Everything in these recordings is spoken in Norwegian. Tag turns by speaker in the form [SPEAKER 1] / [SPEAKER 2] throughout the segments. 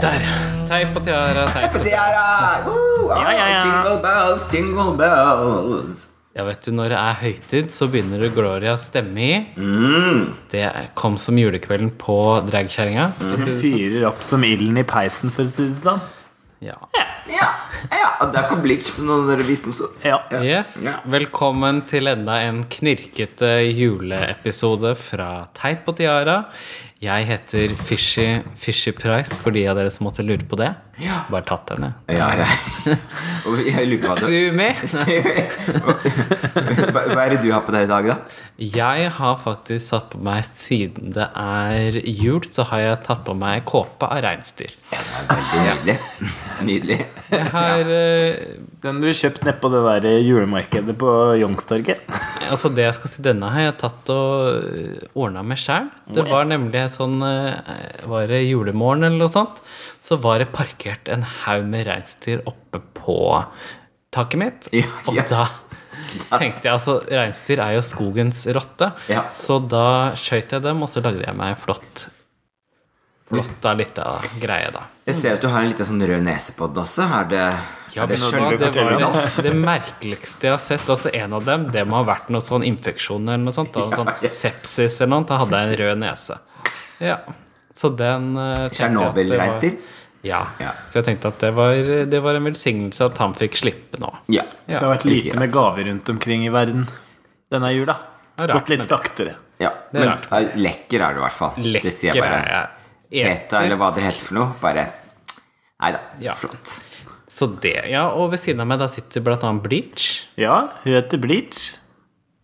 [SPEAKER 1] Teip på tiara, teip på
[SPEAKER 2] Det er her! Woo!
[SPEAKER 1] Ja, ja, ja.
[SPEAKER 2] Ah, Jingle bells, jingle bells.
[SPEAKER 1] Ja, vet du, når det er høytid, så begynner det Gloria å stemme i.
[SPEAKER 2] Mm.
[SPEAKER 1] Det kom som julekvelden på dragkjerringa. for å si
[SPEAKER 3] Hun
[SPEAKER 1] det sånn.
[SPEAKER 3] fyrer opp som ilden i peisen, for å si det sånn.
[SPEAKER 1] Ja.
[SPEAKER 2] Ja, ja. Det er ikke bleach med noen visdomsord.
[SPEAKER 3] Ja.
[SPEAKER 1] Yes.
[SPEAKER 2] Ja.
[SPEAKER 1] Velkommen til enda en knirkete juleepisode fra Teip og tiara. Jeg heter Fishy, Fishy Price for de av dere som måtte lure på det.
[SPEAKER 2] Ja.
[SPEAKER 1] Bare tatt henne.
[SPEAKER 2] Ja, ja. Og jeg lurer på hva det
[SPEAKER 1] Sumi!
[SPEAKER 2] hva, hva er det du har på deg i dag, da?
[SPEAKER 1] Jeg har faktisk tatt på meg, siden det er jul, så har jeg tatt på meg kåpe av reinsdyr.
[SPEAKER 2] Veldig nydelig. Nydelig.
[SPEAKER 1] Jeg har eh,
[SPEAKER 3] Den du kjøpte nede på det der julemarkedet på Youngstorget.
[SPEAKER 1] Altså Det jeg skal si denne, har jeg tatt og ordna med sjæl. Det var nemlig en sånn eh, Var det julemorgen eller noe sånt? Så var det parkert en haug med reinsdyr oppe på taket mitt.
[SPEAKER 2] Ja, ja.
[SPEAKER 1] Og da tenkte jeg altså Reinsdyr er jo skogens rotte.
[SPEAKER 2] Ja.
[SPEAKER 1] Så da skøyt jeg dem, og så lagde jeg meg en flott Flott av lita greie, da.
[SPEAKER 2] Jeg ser at du har en liten sånn rød nese på den også. Er det,
[SPEAKER 1] Ja,
[SPEAKER 2] er det
[SPEAKER 1] men altså,
[SPEAKER 3] skjønner
[SPEAKER 1] det, var-
[SPEAKER 3] du
[SPEAKER 1] det
[SPEAKER 3] forskjellen,
[SPEAKER 1] var det, det merkeligste jeg har sett. Altså En av dem det må ha vært noe sånn infeksjon eller noe sånt. Da,
[SPEAKER 2] Ja,
[SPEAKER 1] sånn
[SPEAKER 2] ja.
[SPEAKER 1] Sepsis eller noe. Da hadde jeg en rød nese. Ja, Så den eh, tenkte jeg at det var-
[SPEAKER 2] Tsjernobyl-reinsdyr?
[SPEAKER 1] Ja.
[SPEAKER 2] Ja.
[SPEAKER 1] Så jeg tenkte at det var, det var en velsignelse at han fikk slippe nå.
[SPEAKER 2] Ja.
[SPEAKER 3] Så det har vært lite med gaver rundt omkring i verden denne jula.
[SPEAKER 1] er rart,
[SPEAKER 3] Gått litt
[SPEAKER 1] men-
[SPEAKER 3] saktere.
[SPEAKER 2] ja.
[SPEAKER 1] Det er
[SPEAKER 2] Men,
[SPEAKER 1] rart.
[SPEAKER 2] ja, lekker er det i hvert fall. det sier jeg
[SPEAKER 1] Lekker
[SPEAKER 2] bare.
[SPEAKER 1] er jeg.
[SPEAKER 2] Peta, eller hva det heter for noe. Bare Nei da.
[SPEAKER 1] Ja.
[SPEAKER 2] Flott.
[SPEAKER 1] Så det, ja. Og ved siden av meg da sitter blant annet Bleach,
[SPEAKER 3] Ja, hun heter Bleach.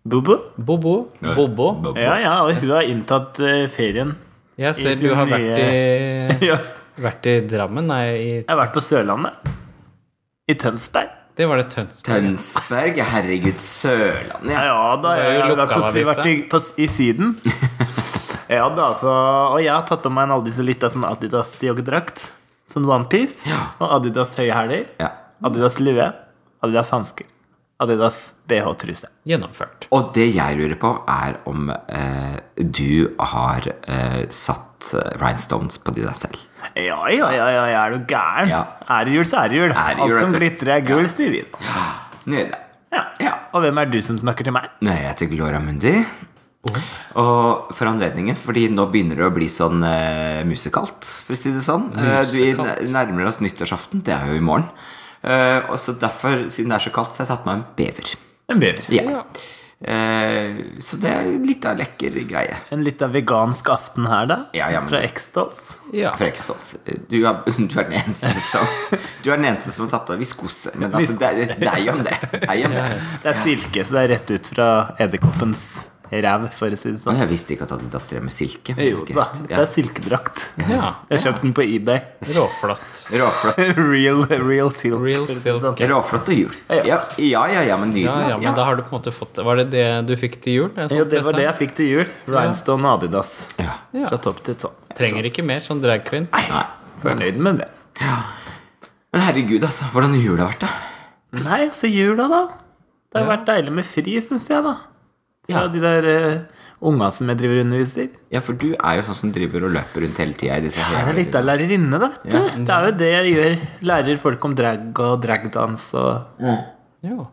[SPEAKER 3] Bobo.
[SPEAKER 1] Bobo, Bobo.
[SPEAKER 3] Ja, ja, og hun har inntatt eh, ferien.
[SPEAKER 1] Jeg ser
[SPEAKER 3] I
[SPEAKER 1] du har
[SPEAKER 3] sin
[SPEAKER 1] vært i,
[SPEAKER 3] Ja.
[SPEAKER 1] vært i Drammen, nei, i,
[SPEAKER 3] Jeg har vært på Sørlandet. I Tønsberg.
[SPEAKER 1] det var det Tønsberg.
[SPEAKER 2] Tønsberg, herregud, Sørlandet.
[SPEAKER 3] Ja,
[SPEAKER 2] Ja.
[SPEAKER 3] ja da,
[SPEAKER 1] Det er
[SPEAKER 3] jeg
[SPEAKER 1] jo
[SPEAKER 3] jeg har vært på,
[SPEAKER 1] lokalavise.
[SPEAKER 3] vært i, på, i Syden. ja da, så Og jeg har tatt på meg en aldri så lita sånn Adidas joggedrakt. Sånn OnePiece.
[SPEAKER 2] Ja.
[SPEAKER 3] Og Adidas høye hæler.
[SPEAKER 2] Ja.
[SPEAKER 3] Adidas lue. Adidas hansker. Adidas BH-truse.
[SPEAKER 1] Gjennomført.
[SPEAKER 2] Og det jeg lurer på, er om eh, du har eh, satt eh, rhinestones på de der selv.
[SPEAKER 3] Ja, ja, ja, ja, ja, er du gæren?
[SPEAKER 2] Ja.
[SPEAKER 3] Er det jul, så er det jul.
[SPEAKER 2] Er det jul,
[SPEAKER 3] Alt som
[SPEAKER 2] vet du.
[SPEAKER 3] glitrer, er gull, sier vi.
[SPEAKER 2] Nydelig.
[SPEAKER 3] Ja.
[SPEAKER 2] Ja.
[SPEAKER 3] Og hvem er du som snakker til meg?
[SPEAKER 2] Nei, jeg heter Gloria Mundi. Og for anledningen, fordi nå begynner det å bli sånn eh, musikalt, for å si det sånn. Eh, vi
[SPEAKER 1] Musikalt.
[SPEAKER 2] n- nærmer oss nyttårsaften, det er jo i morgen. Eh, og så derfor, siden det er så kaldt, så har jeg tatt meg en bever.
[SPEAKER 3] En bever.
[SPEAKER 2] Ja. Eh, så det er litt av en lekker greie.
[SPEAKER 3] En litt av vegansk aften her, da?
[SPEAKER 2] Ja, ja, men
[SPEAKER 3] Fra
[SPEAKER 2] det-
[SPEAKER 3] X-Dolls.
[SPEAKER 1] Ja.
[SPEAKER 2] For jeg er ikke stolt. Du er, du er den eneste som Du er den eneste som har tatt på deg viskose. Men altså, det er det er jo om det. Det er jo om det.
[SPEAKER 3] Det er silke, så det er rett ut fra edderkoppens ræv, for å si det
[SPEAKER 2] Å,
[SPEAKER 3] sånn.
[SPEAKER 2] Jeg visste ikke at Adidas drev med silke. men
[SPEAKER 3] Jo da,
[SPEAKER 2] greit.
[SPEAKER 3] det er silkedrakt.
[SPEAKER 1] ja.
[SPEAKER 3] Jeg kjøpte den på eBay.
[SPEAKER 1] Råflott.
[SPEAKER 2] Ja. Råflott.
[SPEAKER 3] Real, real silk.
[SPEAKER 1] Real
[SPEAKER 3] for å si det
[SPEAKER 1] silk.
[SPEAKER 3] sånn.
[SPEAKER 2] Råflott og jul.
[SPEAKER 3] Ja.
[SPEAKER 2] Ja, ja, ja, ja men
[SPEAKER 1] Ja,
[SPEAKER 2] nydelig.
[SPEAKER 1] ja, men da har du på en måte fått det. Var det det du fikk til jul? En sånn
[SPEAKER 3] Jo, det var det
[SPEAKER 1] presang?
[SPEAKER 3] jeg fikk til jul. Rhinestone og Adidas.
[SPEAKER 2] Ja.
[SPEAKER 1] Ja.
[SPEAKER 3] Fra topp til tå.
[SPEAKER 1] Trenger ikke mer sånn drag queen.
[SPEAKER 2] Nei.
[SPEAKER 3] Fornøyd med det.
[SPEAKER 2] Men herregud, altså. Hvordan jul har vært, da?
[SPEAKER 3] Nei, så jula, da. Det har
[SPEAKER 1] Ja.
[SPEAKER 3] vært deilig med fri, syns jeg, da.
[SPEAKER 2] Ja.
[SPEAKER 3] Ja, de der uh, unga som jeg driver og underviser.
[SPEAKER 2] Ja, for du er jo sånn som driver og løper rundt hele tida i disse
[SPEAKER 3] Jeg er litt av lærerinne, da, vet du. Det er jo det jeg gjør. Lærer folk om drag og dragdans og
[SPEAKER 1] Jo.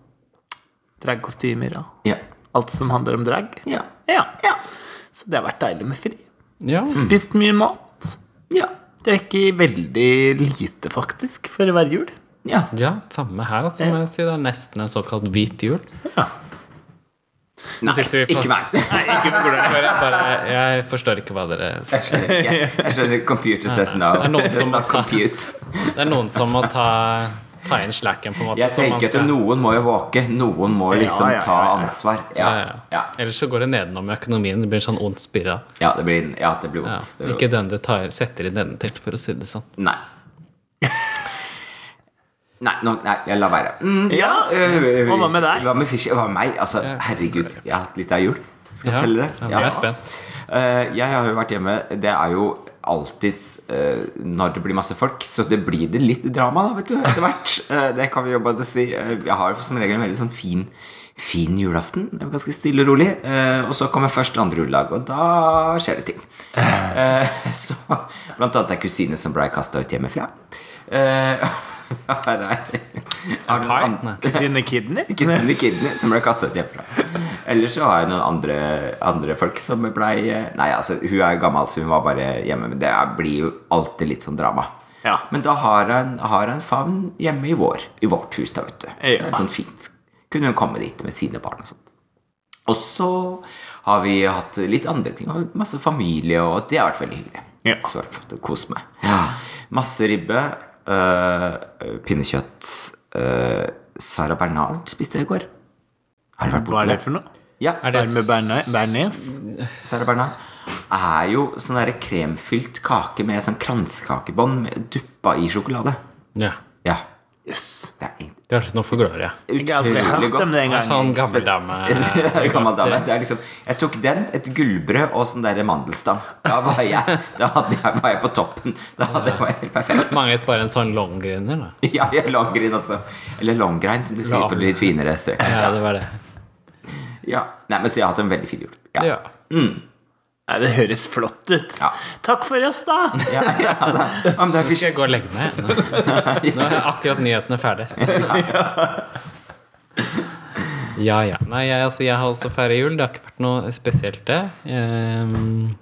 [SPEAKER 3] dragkostymer
[SPEAKER 2] Mm.
[SPEAKER 3] og
[SPEAKER 2] Ja.
[SPEAKER 3] alt som handler om drag.
[SPEAKER 2] Ja.
[SPEAKER 3] Ja.
[SPEAKER 2] Ja.
[SPEAKER 3] Så det har vært deilig med fri.
[SPEAKER 1] Ja.
[SPEAKER 3] Spist mye mat.
[SPEAKER 2] Ja.
[SPEAKER 3] Drikker veldig lite, faktisk, for hver jul.
[SPEAKER 2] ja.
[SPEAKER 1] ja, samme her, altså, må jeg si. Det er nesten en såkalt hvit jul.
[SPEAKER 2] Nei,
[SPEAKER 1] sitter vi for-
[SPEAKER 2] ikke meg.
[SPEAKER 1] Bare, bare, jeg forstår ikke hva dere
[SPEAKER 2] Jeg skjønner ikke. Jeg skjønner Computer says no.
[SPEAKER 1] Det er noen
[SPEAKER 2] It's
[SPEAKER 1] som må
[SPEAKER 2] not
[SPEAKER 1] ta-
[SPEAKER 2] compute.
[SPEAKER 1] Det er noen som må ta, ta inn slacken, på en måte.
[SPEAKER 2] Jeg
[SPEAKER 1] som man
[SPEAKER 2] tenker at
[SPEAKER 1] skal-
[SPEAKER 2] noen må jo våke. Noen må liksom
[SPEAKER 3] Ja, ja, ja,
[SPEAKER 2] ta
[SPEAKER 3] ja.
[SPEAKER 2] ansvar. Ja,
[SPEAKER 1] Ja, ja.
[SPEAKER 2] ja.
[SPEAKER 1] Ellers så går det nedenom i økonomien. Det blir en sånn ond spiral.
[SPEAKER 2] ja det blir, ja, det blir
[SPEAKER 1] Ja.
[SPEAKER 2] vondt. Det blir
[SPEAKER 1] Ikke
[SPEAKER 2] vondt.
[SPEAKER 1] den du tar, setter inn denne til, for å si det sånn.
[SPEAKER 2] Nei. Nei, nå, nei, jeg lar være. Mm,
[SPEAKER 3] Ja.
[SPEAKER 2] øh, øh,
[SPEAKER 3] Og hva med deg?
[SPEAKER 2] Hva med Fishy? Hva med meg? Altså, herregud, jeg har hatt litt av jul. Skal jeg
[SPEAKER 1] Ja,
[SPEAKER 2] fortelle
[SPEAKER 1] ja, men
[SPEAKER 2] dere?
[SPEAKER 1] jeg er spent.
[SPEAKER 2] Eh, jeg har jo vært hjemme Det er jo alltid eh, Når det blir masse folk, så det blir det litt drama, da, vet du, etter hvert. Eh, det kan vi jo bare si. Eh, jeg har som regel en veldig sånn fin, fin julaften. Det er Ganske stille og rolig. Eh, og så kommer første andre juledag, og da skjer det ting. Eh, så Blant annet er kusine som blei kasta ut hjemmefra. Eh, her er, har du noen andre-
[SPEAKER 1] Nei.
[SPEAKER 3] Kusine Kidney?
[SPEAKER 2] Kristine Kidney som ble kastet hjemmefra. Ellers så har jeg noen andre, andre folk som blei Nei, altså, hun er gammel, så hun var bare hjemme. Men det er- blir jo alltid litt sånn drama.
[SPEAKER 3] Ja.
[SPEAKER 2] Men da har han, har han favn hjemme i vår. I vårt hus, da, vet du. Så det er
[SPEAKER 3] Ja.
[SPEAKER 2] litt sånn fint. Kunne hun komme dit med sine barn og sånt. Og så har vi hatt litt andre ting. og Masse familie, og det har vært veldig hyggelig.
[SPEAKER 3] Ja.
[SPEAKER 2] Så har jeg fått kose meg. Masse ribbe, øh, pinnekjøtt øh, Sara Bernard spiste jeg i går. Har du vært
[SPEAKER 3] Hva
[SPEAKER 2] borti
[SPEAKER 3] er det for noe?
[SPEAKER 2] Ja,
[SPEAKER 1] Er det-
[SPEAKER 3] Sarme Bernes? Bernes?
[SPEAKER 2] Sara Bernard er jo sånn der kremfylt kake med sånn kransekakebånd med- duppa i sjokolade.
[SPEAKER 1] Ja.
[SPEAKER 2] Ja.
[SPEAKER 3] Yes.
[SPEAKER 2] Det er
[SPEAKER 1] Det høres noe for gloria.
[SPEAKER 3] Jeg har aldri
[SPEAKER 2] utrolig
[SPEAKER 3] hatt
[SPEAKER 2] godt.
[SPEAKER 3] dem den
[SPEAKER 1] Det er sånn
[SPEAKER 3] gangen.
[SPEAKER 1] gammel dame.
[SPEAKER 2] Det er en gammel dame. Det er liksom, jeg tok den, et gullbrød og sånn der mandelstang. Da var jeg, da hadde jeg, var jeg på toppen. Da hadde jeg var jeg helt perfekt.
[SPEAKER 1] Manglet bare en sånn longgryner, da.
[SPEAKER 2] Ja, jeg er langgrin også. Eller longgrein, som de sier på de litt finere strøk.
[SPEAKER 1] Ja, det var det.
[SPEAKER 2] Ja. Nei, men så jeg har hatt en veldig fin jul. Ja.
[SPEAKER 1] Ja.
[SPEAKER 3] Nei, det høres flott ut.
[SPEAKER 2] Ja.
[SPEAKER 3] Takk for oss, da!
[SPEAKER 2] Ja, ja, da. Ja, men det er
[SPEAKER 1] Skal
[SPEAKER 2] fysj.
[SPEAKER 1] jeg gå og legge meg? Nå, nå er akkurat nyhetene ferdig. så- Ja, ja. Nei, jeg, altså, jeg har også feira jul. Det har ikke vært noe spesielt, det. Ehm,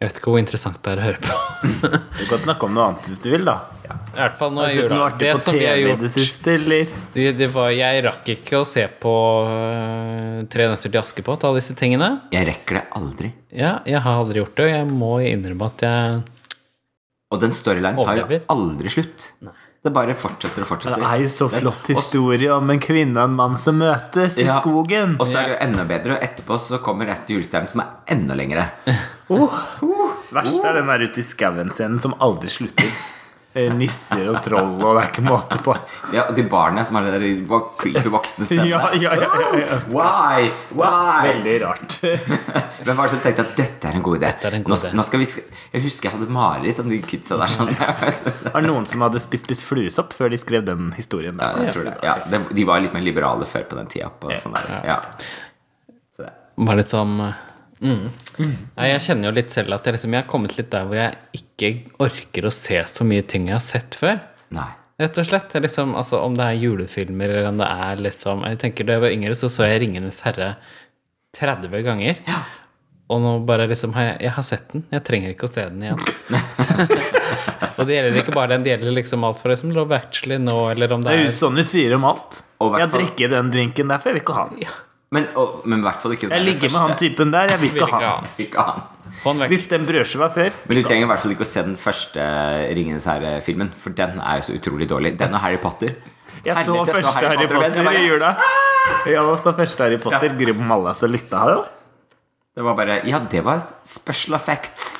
[SPEAKER 1] Jeg vet ikke hvor interessant det er å høre på.
[SPEAKER 3] Du kan snakke om noe annet hvis du vil, da.
[SPEAKER 1] I hvert fall nå i
[SPEAKER 3] Slutt noe
[SPEAKER 1] jula.
[SPEAKER 3] artig
[SPEAKER 1] Det
[SPEAKER 3] på
[SPEAKER 1] som vi har
[SPEAKER 3] TV i Altså, det
[SPEAKER 1] gjort
[SPEAKER 3] siste, eller?
[SPEAKER 1] det, det var, Jeg rakk ikke å se på øh, Tre nøtter til Askepott, alle disse tingene.
[SPEAKER 2] Jeg rekker det aldri.
[SPEAKER 1] Ja, jeg har aldri gjort det, og jeg må innrømme at jeg
[SPEAKER 2] Og den storylinen tar jo
[SPEAKER 1] Overlever.
[SPEAKER 2] aldri slutt. Det bare fortsetter og
[SPEAKER 3] Det
[SPEAKER 2] fortsetter.
[SPEAKER 3] er jo så flott historie om en kvinne og en mann som møtes i
[SPEAKER 2] Ja.
[SPEAKER 3] skogen.
[SPEAKER 2] Og så er det jo enda bedre, og etterpå så kommer resten til julestjernen, som er enda lengre.
[SPEAKER 3] Verst er den der ute i skauen-scenen som aldri slutter. Eh, Nisser og troll, og det er ikke måte på.
[SPEAKER 2] Ja, og de barna som har den der vok- creepy voksne stemmen.
[SPEAKER 3] Ja, ja, ja, ja, ja.
[SPEAKER 2] Why? Why?
[SPEAKER 3] Veldig rart.
[SPEAKER 2] Hvem var det som tenkte at dette er en god idé?
[SPEAKER 1] Dette er en god
[SPEAKER 2] nå,
[SPEAKER 1] idé.
[SPEAKER 2] nå skal vi, sk- jeg husker jeg hadde mareritt om de kidsa der. Sånn. Ja,
[SPEAKER 3] Var det noen som hadde spist litt fluesopp før de skrev den historien? Der?
[SPEAKER 2] jeg tror det. Ja, det, de var litt mer liberale før på den tida. På sånn der. Ja. Så det-
[SPEAKER 1] var litt sånn øh, mm. Nei, Jeg kjenner jo litt selv at jeg, liksom, jeg har kommet litt der hvor jeg ikke orker å se så mye ting jeg har sett før.
[SPEAKER 2] Nei.
[SPEAKER 1] Rett og slett. Det er Liksom, altså, om det er julefilmer eller om det er liksom Jeg tenker Da jeg var yngre, så så jeg 'Ringenes herre' 30 ganger. Og nå bare liksom har jeg, jeg har sett den. Jeg trenger ikke å se den igjen. og det gjelder ikke bare den, det gjelder liksom alt fra liksom Love Actually nå, eller om
[SPEAKER 3] Det
[SPEAKER 1] det
[SPEAKER 3] er jo
[SPEAKER 1] er
[SPEAKER 3] sånn du sier om alt.
[SPEAKER 2] Og hvertfall-
[SPEAKER 3] Jeg drikker den drinken der, for jeg vil ikke ha den.
[SPEAKER 2] Men, og, men i hvert fall ikke den
[SPEAKER 3] Jeg
[SPEAKER 2] der
[SPEAKER 3] ligger med han
[SPEAKER 2] første.
[SPEAKER 3] typen der, jeg vil
[SPEAKER 1] Vil
[SPEAKER 3] ikke
[SPEAKER 1] ikke
[SPEAKER 3] ha
[SPEAKER 1] ha
[SPEAKER 3] han.
[SPEAKER 1] den.
[SPEAKER 2] Ikke han.
[SPEAKER 1] Få den vekk.
[SPEAKER 3] Hvis den brødskiva før
[SPEAKER 2] Men du trenger i hvert fall ikke å se den første eh, Ringenes herre-filmen, for den er jo så utrolig dårlig. Den og Harry Potter.
[SPEAKER 3] Jeg så
[SPEAKER 2] Helvete,
[SPEAKER 3] første Harry
[SPEAKER 2] vet du
[SPEAKER 3] Potter
[SPEAKER 2] hva
[SPEAKER 3] i
[SPEAKER 2] jeg-
[SPEAKER 3] jula. Jeg var så første Harry Potter. Gry på Malla så lytta har jo.
[SPEAKER 2] Det var bare Ja, det var special effects.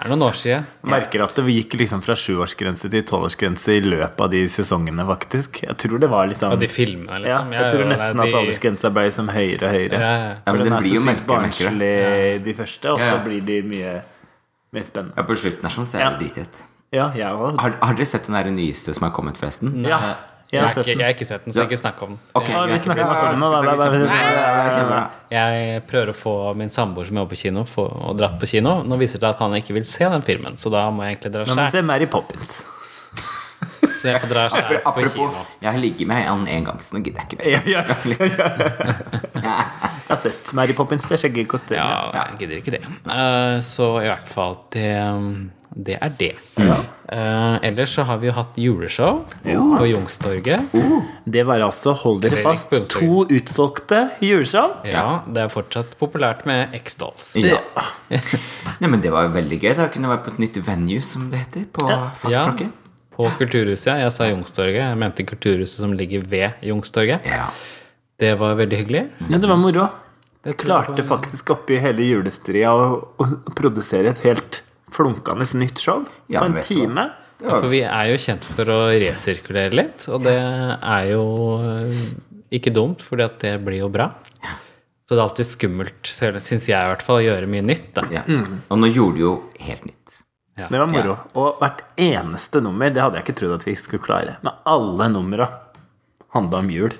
[SPEAKER 1] Det er noen år siden.
[SPEAKER 3] Merker at det gikk liksom fra sjuårsgrense til tolvårsgrense i løpet av de sesongene, faktisk. Jeg tror det var liksom
[SPEAKER 1] Og de filmene,
[SPEAKER 3] ja,
[SPEAKER 1] liksom.
[SPEAKER 3] Jeg tror
[SPEAKER 1] og
[SPEAKER 3] nesten
[SPEAKER 1] de-
[SPEAKER 3] at aldersgrensa ble liksom høyere og høyere.
[SPEAKER 1] Ja, ja.
[SPEAKER 2] Ja,
[SPEAKER 3] For
[SPEAKER 2] men
[SPEAKER 3] den
[SPEAKER 2] den
[SPEAKER 3] er
[SPEAKER 2] blir
[SPEAKER 3] så
[SPEAKER 2] jo
[SPEAKER 3] sykt
[SPEAKER 2] mørkere og mørkere.
[SPEAKER 3] barnslig, eh, de første,
[SPEAKER 2] Ja,
[SPEAKER 3] og så
[SPEAKER 2] ja.
[SPEAKER 3] blir de mye mer spennende.
[SPEAKER 2] Ja, på slutten her sånn, så er det
[SPEAKER 3] Ja.
[SPEAKER 2] dritrett.
[SPEAKER 3] Ja, jeg òg.
[SPEAKER 2] Har, har dere sett den der nyeste som har kommet, forresten?
[SPEAKER 3] Ja, jeg
[SPEAKER 1] Ah, Jeg
[SPEAKER 3] har
[SPEAKER 1] har,
[SPEAKER 3] sett
[SPEAKER 1] ikke,
[SPEAKER 3] den.
[SPEAKER 1] jeg har ikke sett den, så ikke snakk om den.
[SPEAKER 2] Ok,
[SPEAKER 3] Ja, vi
[SPEAKER 2] greit.
[SPEAKER 3] snakker masse om sånn det nå, da.
[SPEAKER 2] Skal vi snakke
[SPEAKER 3] Nei, nei, nei, nei.
[SPEAKER 2] Kjempebra.
[SPEAKER 1] Jeg prøver å få min samboer som jobber på kino, få, og dratt på kino. Nå viser det seg at han ikke vil se den filmen, så da må jeg egentlig dra
[SPEAKER 3] Nå må du
[SPEAKER 1] skjær.
[SPEAKER 3] se Mary Poppins.
[SPEAKER 1] Så jeg får dra skjær
[SPEAKER 2] Apropos,
[SPEAKER 1] på kino.
[SPEAKER 2] apropos, jeg har ligget med han en gang, så nå gidder jeg ikke
[SPEAKER 3] Ja,
[SPEAKER 2] mer.
[SPEAKER 3] ja. Jeg
[SPEAKER 2] Ja.
[SPEAKER 3] har sett Mary Poppins. Jeg skjegger godt
[SPEAKER 1] Ja,
[SPEAKER 3] ja.
[SPEAKER 1] jeg gidder ikke det. Eh, så i hvert fall, det, det er det. Eh, ellers så har vi jo hatt juleshow på Youngstorget.
[SPEAKER 3] Det var altså, hold dere
[SPEAKER 1] Fredrik
[SPEAKER 3] fast,
[SPEAKER 1] Bønsøy.
[SPEAKER 3] to utsolgte juleshow.
[SPEAKER 1] Ja, det er fortsatt populært med X-Dolls.
[SPEAKER 2] Ja. Nei, men det var jo veldig gøy. Da kunne jeg være på et nytt venue, som det heter, på
[SPEAKER 1] Ja,
[SPEAKER 2] fagspråket.
[SPEAKER 1] på Kulturhuset. ja. Jeg sa Youngstorget. Jeg mente Kulturhuset som ligger ved Youngstorget.
[SPEAKER 2] Ja.
[SPEAKER 1] Det var veldig hyggelig.
[SPEAKER 3] Ja, det var moro.
[SPEAKER 1] Jeg tror
[SPEAKER 3] Klarte
[SPEAKER 1] det var-
[SPEAKER 3] faktisk oppi hele julestria å, å produsere et helt flunkende nytt show
[SPEAKER 2] Ja,
[SPEAKER 3] på
[SPEAKER 2] men
[SPEAKER 3] en
[SPEAKER 2] vet du hva?
[SPEAKER 3] time.
[SPEAKER 1] Ja, for vi er jo kjent for å resirkulere litt, og det er jo eh, ikke dumt, for det blir jo bra. Så det er alltid skummelt, syns jeg i hvert fall, å gjøre mye nytt. Da.
[SPEAKER 2] Ja.
[SPEAKER 3] Mm.
[SPEAKER 2] Og nå gjorde de jo helt nytt.
[SPEAKER 3] Det var moro. Og hvert eneste nummer, det hadde jeg ikke trodd at vi skulle klare. Men alle numra handla om jul.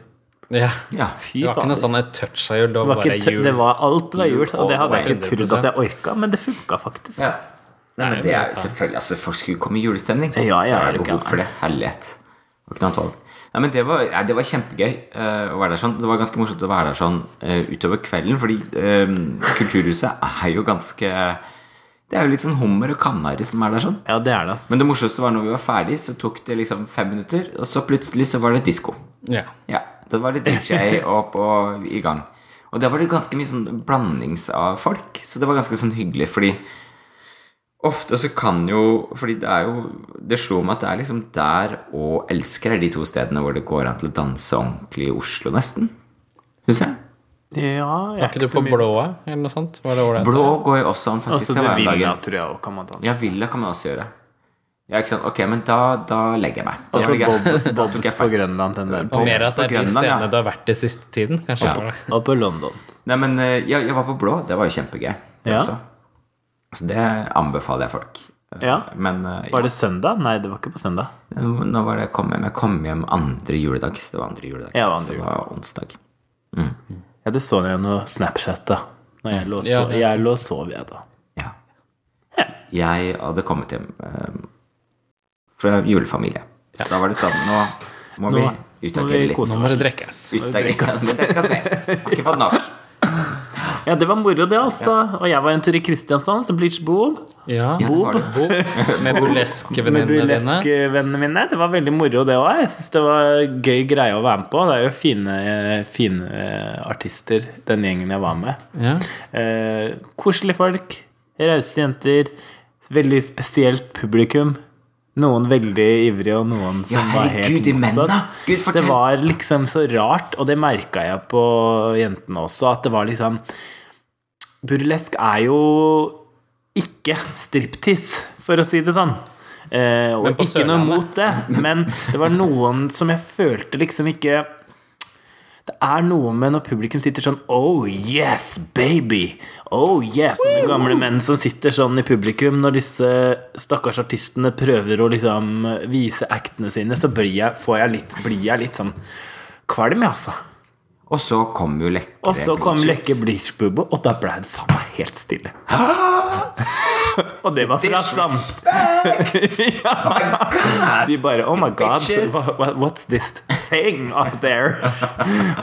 [SPEAKER 1] Ja.
[SPEAKER 2] Ja,
[SPEAKER 3] Fy
[SPEAKER 1] Det var ikke
[SPEAKER 3] faen.
[SPEAKER 1] noe sånn et touch av jul, det
[SPEAKER 3] Det
[SPEAKER 1] var
[SPEAKER 3] var,
[SPEAKER 1] bare
[SPEAKER 3] ikke, tø-
[SPEAKER 1] jul.
[SPEAKER 3] det var alt var jul, og det hadde jeg ikke trodd
[SPEAKER 1] 100%.
[SPEAKER 3] at jeg orka, men det funka faktisk.
[SPEAKER 2] Ja.
[SPEAKER 3] altså.
[SPEAKER 2] Nei, men det er jo selvfølgelig Altså, folk skulle jo komme i julestemning.
[SPEAKER 3] Ja, ja,
[SPEAKER 2] det
[SPEAKER 3] er
[SPEAKER 2] er
[SPEAKER 3] du
[SPEAKER 2] jo behov
[SPEAKER 3] gæren.
[SPEAKER 2] for det. Herlighet. Det var ikke noe annet valg. Nei, men det var, nei, det var kjempegøy eh, å være der sånn. Det var ganske morsomt å være der sånn eh, utover kvelden, fordi eh, Kulturhuset er jo ganske Det er jo litt sånn hummer og kanari som er der sånn.
[SPEAKER 3] Ja, det er det, altså.
[SPEAKER 2] Men det morsomste var når vi var ferdig, så tok det liksom fem minutter, og så plutselig så var det disko.
[SPEAKER 1] Ja.
[SPEAKER 2] Ja, da var det DJ opp og i gang. Og da var det ganske mye sånn blandings av folk, så det var ganske sånn hyggelig, fordi ofte så kan jo Fordi det er jo Det slo meg at det er liksom der og elsker er de to stedene hvor det går an til å danse ordentlig i Oslo, nesten. Syns jeg.
[SPEAKER 3] Ja, jeg er
[SPEAKER 1] Ikke du
[SPEAKER 3] ikke så
[SPEAKER 1] på
[SPEAKER 3] mye
[SPEAKER 1] blåa, eller noe sånt? Var det ålreit?
[SPEAKER 2] Blå går jo også an, faktisk.
[SPEAKER 3] Altså,
[SPEAKER 2] det
[SPEAKER 3] det
[SPEAKER 2] var en dag.
[SPEAKER 3] ville tror jeg også kan man danse.
[SPEAKER 2] Ja, Villa kan man også gjøre. Ja, ikke sant. Ok, men da, da legger jeg meg. Da
[SPEAKER 3] Altså
[SPEAKER 2] var det greit.
[SPEAKER 3] Bobs,
[SPEAKER 2] Da tok jeg
[SPEAKER 3] Bobs på
[SPEAKER 2] feil.
[SPEAKER 3] Grønland, den der.
[SPEAKER 1] Og mer at
[SPEAKER 2] på
[SPEAKER 1] det er de
[SPEAKER 2] Grønland, ja.
[SPEAKER 1] stedene du har vært i siste tiden, kanskje. bare.
[SPEAKER 3] Og på London.
[SPEAKER 2] Nei, men eh, jeg, jeg var på blå. Det var jo kjempegøy. det
[SPEAKER 3] Ja.
[SPEAKER 2] også. Så det anbefaler jeg folk. Eh,
[SPEAKER 3] Ja.
[SPEAKER 2] Men eh,
[SPEAKER 3] Var det søndag? Nei, det var ikke på søndag.
[SPEAKER 2] ja. nå var det jeg kom hjem. Jeg kom hjem andre juledag. Så det var andre juledag.
[SPEAKER 3] Ja, det var andre
[SPEAKER 2] så det var onsdag. Mm.
[SPEAKER 3] Ja, det så jeg noe Snapchat, da. Når jeg lå og
[SPEAKER 1] Ja,
[SPEAKER 3] sov,
[SPEAKER 1] det-
[SPEAKER 3] jeg lå og sov jeg, da.
[SPEAKER 2] Ja. Jeg hadde kommet hjem eh, fra julefamilie. Så da var det sånn Nå må
[SPEAKER 3] Nå-
[SPEAKER 2] vi
[SPEAKER 3] må vi
[SPEAKER 2] utagere litt.
[SPEAKER 3] kose
[SPEAKER 1] Nå må det drekkes.
[SPEAKER 2] Utagere. Det drikkes mer. Har ikke fått nok.
[SPEAKER 3] Ja, det var moro, det, altså. Og jeg var en tur i Kristiansand, som Bleach Boom.
[SPEAKER 1] Ja.
[SPEAKER 2] Ja, det var det.
[SPEAKER 1] Bob, med
[SPEAKER 3] Med
[SPEAKER 1] burleskevennene dine.
[SPEAKER 3] burleskvennene mine. Det var veldig moro, det òg. Jeg syns det var gøy greie å være med på. Det er jo fine, eh, fine artister, den gjengen jeg var med.
[SPEAKER 1] Ja.
[SPEAKER 3] Eh, koselige folk. Rause jenter. Veldig spesielt publikum. Noen veldig ivrige, og noen som
[SPEAKER 2] Ja,
[SPEAKER 3] var helt
[SPEAKER 2] herregud, de mennene.
[SPEAKER 3] motsatt.
[SPEAKER 2] Gud,
[SPEAKER 3] Det
[SPEAKER 2] fortell.
[SPEAKER 3] var liksom så rart, og det merka jeg på jentene også, at det var liksom Burlesk er jo ikke striptease, for å si det sånn. Eh, og
[SPEAKER 1] Men på
[SPEAKER 3] ikke noe
[SPEAKER 1] Sørlandet.
[SPEAKER 3] mot det, men det var noen som jeg følte liksom ikke Det er noe med når publikum sitter sånn Oh yes, baby! Oh yes! Sånne gamle menn som sitter sånn i publikum når disse stakkars artistene prøver å liksom vise actene sine, så blir jeg, får jeg litt, blir jeg litt sånn kvalm, jeg, altså.
[SPEAKER 2] Og så kom jo lekre
[SPEAKER 3] Og så kom
[SPEAKER 2] Bleach ut.
[SPEAKER 3] Lekke Bleachbubbe, og da ble det faen meg helt stille. og det var fra sam...
[SPEAKER 2] Oh
[SPEAKER 3] Ja. De bare Oh my god,
[SPEAKER 2] Bitches.
[SPEAKER 3] wha- wha- what's this thing up there?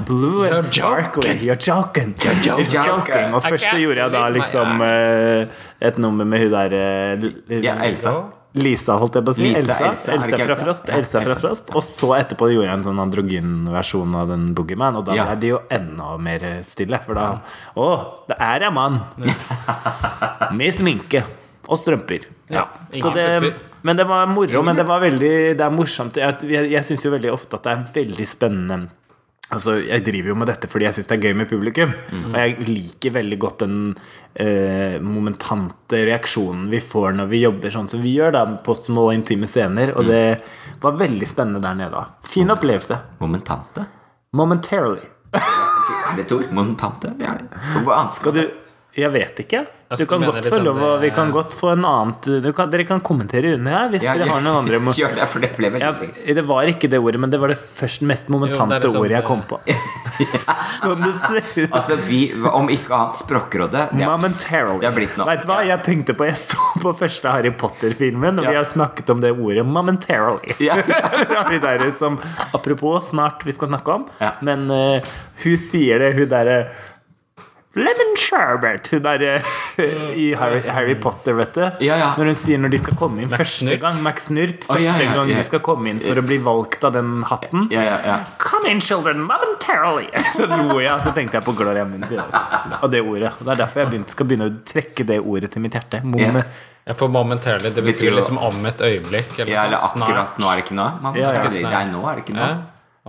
[SPEAKER 3] Blue and
[SPEAKER 1] You're
[SPEAKER 3] sparkly. You're joking. You're joking.
[SPEAKER 2] joking.
[SPEAKER 3] Og først så
[SPEAKER 1] can't
[SPEAKER 3] gjorde jeg da
[SPEAKER 1] believe my
[SPEAKER 3] liksom eh, et nummer med hun der eh,
[SPEAKER 2] Ja, Elsa.
[SPEAKER 3] Lisa, holdt jeg på å si.
[SPEAKER 2] Lisa,
[SPEAKER 3] Elsa, Elsa,
[SPEAKER 2] Elsa, er det ikke
[SPEAKER 3] fra
[SPEAKER 2] Elsa?
[SPEAKER 3] Frost.
[SPEAKER 2] Ja,
[SPEAKER 3] Elsa fra
[SPEAKER 2] Elsa.
[SPEAKER 3] Frost. Og så etterpå gjorde jeg en sånn androgyn versjon av den Boogeyman, og da
[SPEAKER 2] Ja.
[SPEAKER 3] ble de jo enda mer stille. For da Å, det er jeg mann! med sminke. Og strømper. Ja.
[SPEAKER 1] Ja,
[SPEAKER 3] Så
[SPEAKER 1] ingen
[SPEAKER 3] det
[SPEAKER 1] pupper.
[SPEAKER 3] men det var moro, men det var veldig Det er morsomt. Jeg, jeg, jeg syns jo veldig ofte at det er veldig spennende Altså, Jeg driver jo med dette fordi jeg syns det er gøy med publikum. Og jeg liker veldig godt den eh, momentante reaksjonen vi får når vi jobber sånn som vi gjør, da, på små, intime scener. Og det var veldig spennende der nede. da. Fin opplevelse.
[SPEAKER 2] Momentante?
[SPEAKER 3] Momentarily.
[SPEAKER 2] Er det et ord? Momentante? Ja. Hva annet
[SPEAKER 3] Og
[SPEAKER 2] skal
[SPEAKER 3] du,
[SPEAKER 2] du
[SPEAKER 3] jeg vet ikke.
[SPEAKER 1] Altså,
[SPEAKER 3] Du kan
[SPEAKER 1] du mener
[SPEAKER 3] godt
[SPEAKER 1] liksom
[SPEAKER 3] få lov å
[SPEAKER 1] det-
[SPEAKER 3] Vi kan godt få en annen du kan, Dere kan kommentere under her hvis dere har noen andre mo-
[SPEAKER 2] Gjør det, for det ble veldig
[SPEAKER 3] Ja,
[SPEAKER 2] usikkert.
[SPEAKER 3] det var ikke det ordet, men det var det først mest
[SPEAKER 1] Jo, det
[SPEAKER 3] momentante
[SPEAKER 1] er det samme.
[SPEAKER 3] ordet jeg kom på. Kan du si-
[SPEAKER 2] Altså, vi, om ikke annet, Språkrådet det er-
[SPEAKER 3] Momentarily.
[SPEAKER 2] Det har blitt noe.
[SPEAKER 3] Vet du hva jeg tenkte på? Jeg så på første Harry Potter-filmen, og
[SPEAKER 2] Ja.
[SPEAKER 3] vi har snakket om det ordet momentarily.
[SPEAKER 2] Ja, ja.
[SPEAKER 3] Fra hun der som, apropos snart vi skal snakke om,
[SPEAKER 2] Ja.
[SPEAKER 3] men eh, hun sier det, hun derre Lemon sherbet! Hun derre i Harry, Harry Potter, vet du.
[SPEAKER 2] Ja, ja.
[SPEAKER 3] Når hun sier når de skal komme inn første
[SPEAKER 1] Snurt.
[SPEAKER 3] gang Max Snurt.
[SPEAKER 2] Å,
[SPEAKER 3] Første
[SPEAKER 2] ja, ja,
[SPEAKER 3] gang
[SPEAKER 2] ja.
[SPEAKER 3] de skal komme inn for å bli valgt av den hatten.
[SPEAKER 2] ja, ja, ja.
[SPEAKER 3] Come in, children, momentarily! Så dro jeg, og så tenkte jeg på Gloria Mundi. Og det ordet. Og det er derfor jeg begynt, skal begynne å trekke det ordet til mitt hjerte. Momen-
[SPEAKER 1] Jeg får momentarily. Det
[SPEAKER 2] Betyr
[SPEAKER 1] betyr
[SPEAKER 2] jo-
[SPEAKER 1] liksom om et øyeblikk. Eller,
[SPEAKER 2] ja eller
[SPEAKER 1] sånn, snart.
[SPEAKER 2] akkurat nå er det ikke noe. Momentarily.
[SPEAKER 3] Ja,
[SPEAKER 1] ja.
[SPEAKER 2] Nei, nå er det ikke
[SPEAKER 1] Ja,
[SPEAKER 2] noe.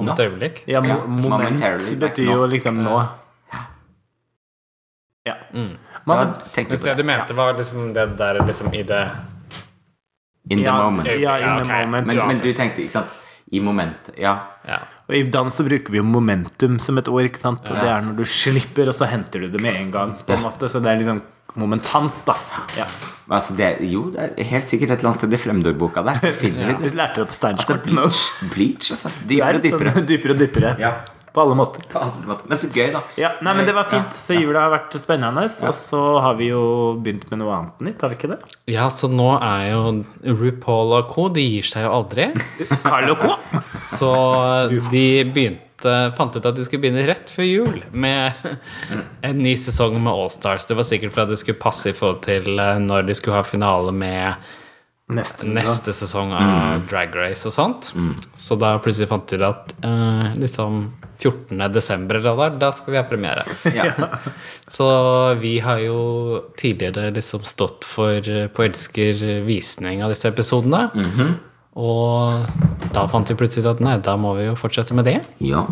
[SPEAKER 1] om et
[SPEAKER 2] Nå.
[SPEAKER 1] øyeblikk.
[SPEAKER 3] Ja,
[SPEAKER 2] Ja,
[SPEAKER 3] mo- moment
[SPEAKER 2] momentarily, det er
[SPEAKER 3] betyr
[SPEAKER 2] ikke
[SPEAKER 3] jo
[SPEAKER 2] nå.
[SPEAKER 3] liksom nå. Ja.
[SPEAKER 2] Da
[SPEAKER 3] Moment,
[SPEAKER 2] tenkte
[SPEAKER 1] Hvis
[SPEAKER 2] jeg på
[SPEAKER 1] det
[SPEAKER 2] det.
[SPEAKER 1] du mente, var liksom det der liksom i det
[SPEAKER 2] In the
[SPEAKER 3] ja,
[SPEAKER 2] moment.
[SPEAKER 3] Ja, in
[SPEAKER 1] Ja,
[SPEAKER 3] the
[SPEAKER 1] ok.
[SPEAKER 3] moment.
[SPEAKER 2] Men,
[SPEAKER 3] ja.
[SPEAKER 2] men du tenkte, ikke sant I moment. Ja.
[SPEAKER 1] Ja.
[SPEAKER 3] Og i dans så bruker vi jo momentum som et ord. ikke sant? Og Det er når du slipper, og så henter du det med en gang. på en måte, Så det er liksom momentant, da. Ja.
[SPEAKER 2] Men altså, det, er- jo, det er helt sikkert et eller annet sted i Fremdor-boka der. Så finner vi
[SPEAKER 3] Vi
[SPEAKER 2] det.
[SPEAKER 3] lærte det på
[SPEAKER 2] Altså,
[SPEAKER 3] Steinskorten
[SPEAKER 2] bleach, bleach, altså.
[SPEAKER 3] Det er
[SPEAKER 2] Dypere og dypere.
[SPEAKER 3] sånn dypere og dypere.
[SPEAKER 2] Ja.
[SPEAKER 3] På alle måter.
[SPEAKER 2] På andre måter. Men så gøy, da. Eh,
[SPEAKER 3] Ja, nei, men Det var
[SPEAKER 2] Ja.
[SPEAKER 3] fint. Så jula har vært spennende. Og så har vi jo begynt med noe annet nytt, har vi ikke det?
[SPEAKER 1] Ja, så nå er jo RuPaul og co. De gir seg jo aldri.
[SPEAKER 3] Carl og Co.
[SPEAKER 1] Så de begynte fant ut at de skulle begynne rett før jul med en ny sesong med Allstars. Det var sikkert for at det skulle passe i forhold til eh, når de skulle ha finale med
[SPEAKER 3] Neste.
[SPEAKER 1] neste sesong av Drag Race og sånt. Så da plutselig fant de ut at eh, liksom 14. desember eller hva det er, da skal vi ha premiere.
[SPEAKER 2] Ja.
[SPEAKER 1] Så vi har jo tidligere liksom stått for eh, på Elsker visning av disse episodene. Og da fant vi plutselig ut at nei, da må vi jo fortsette med det
[SPEAKER 2] ja.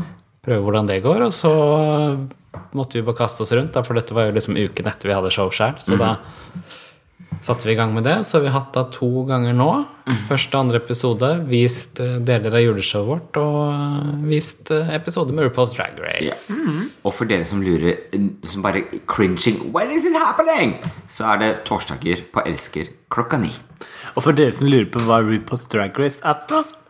[SPEAKER 1] prøve hvordan det går, og så måtte vi bare kaste oss rundt, da, for dette var jo liksom uken etter vi hadde show selv, så da satte vi i gang med det, så vi har hatt da to ganger nå, første og andre episode, vist eh, deler av juleshowet vårt, og eh, vist eh, episode med RuPaul's Drag Race.
[SPEAKER 2] Og for dere som lurer, som bare cringing When is it happening? Så er det torsdager på Elsker klokka ni.
[SPEAKER 3] Og for dere som lurer på hva RuPaul's Drag Race er for noe,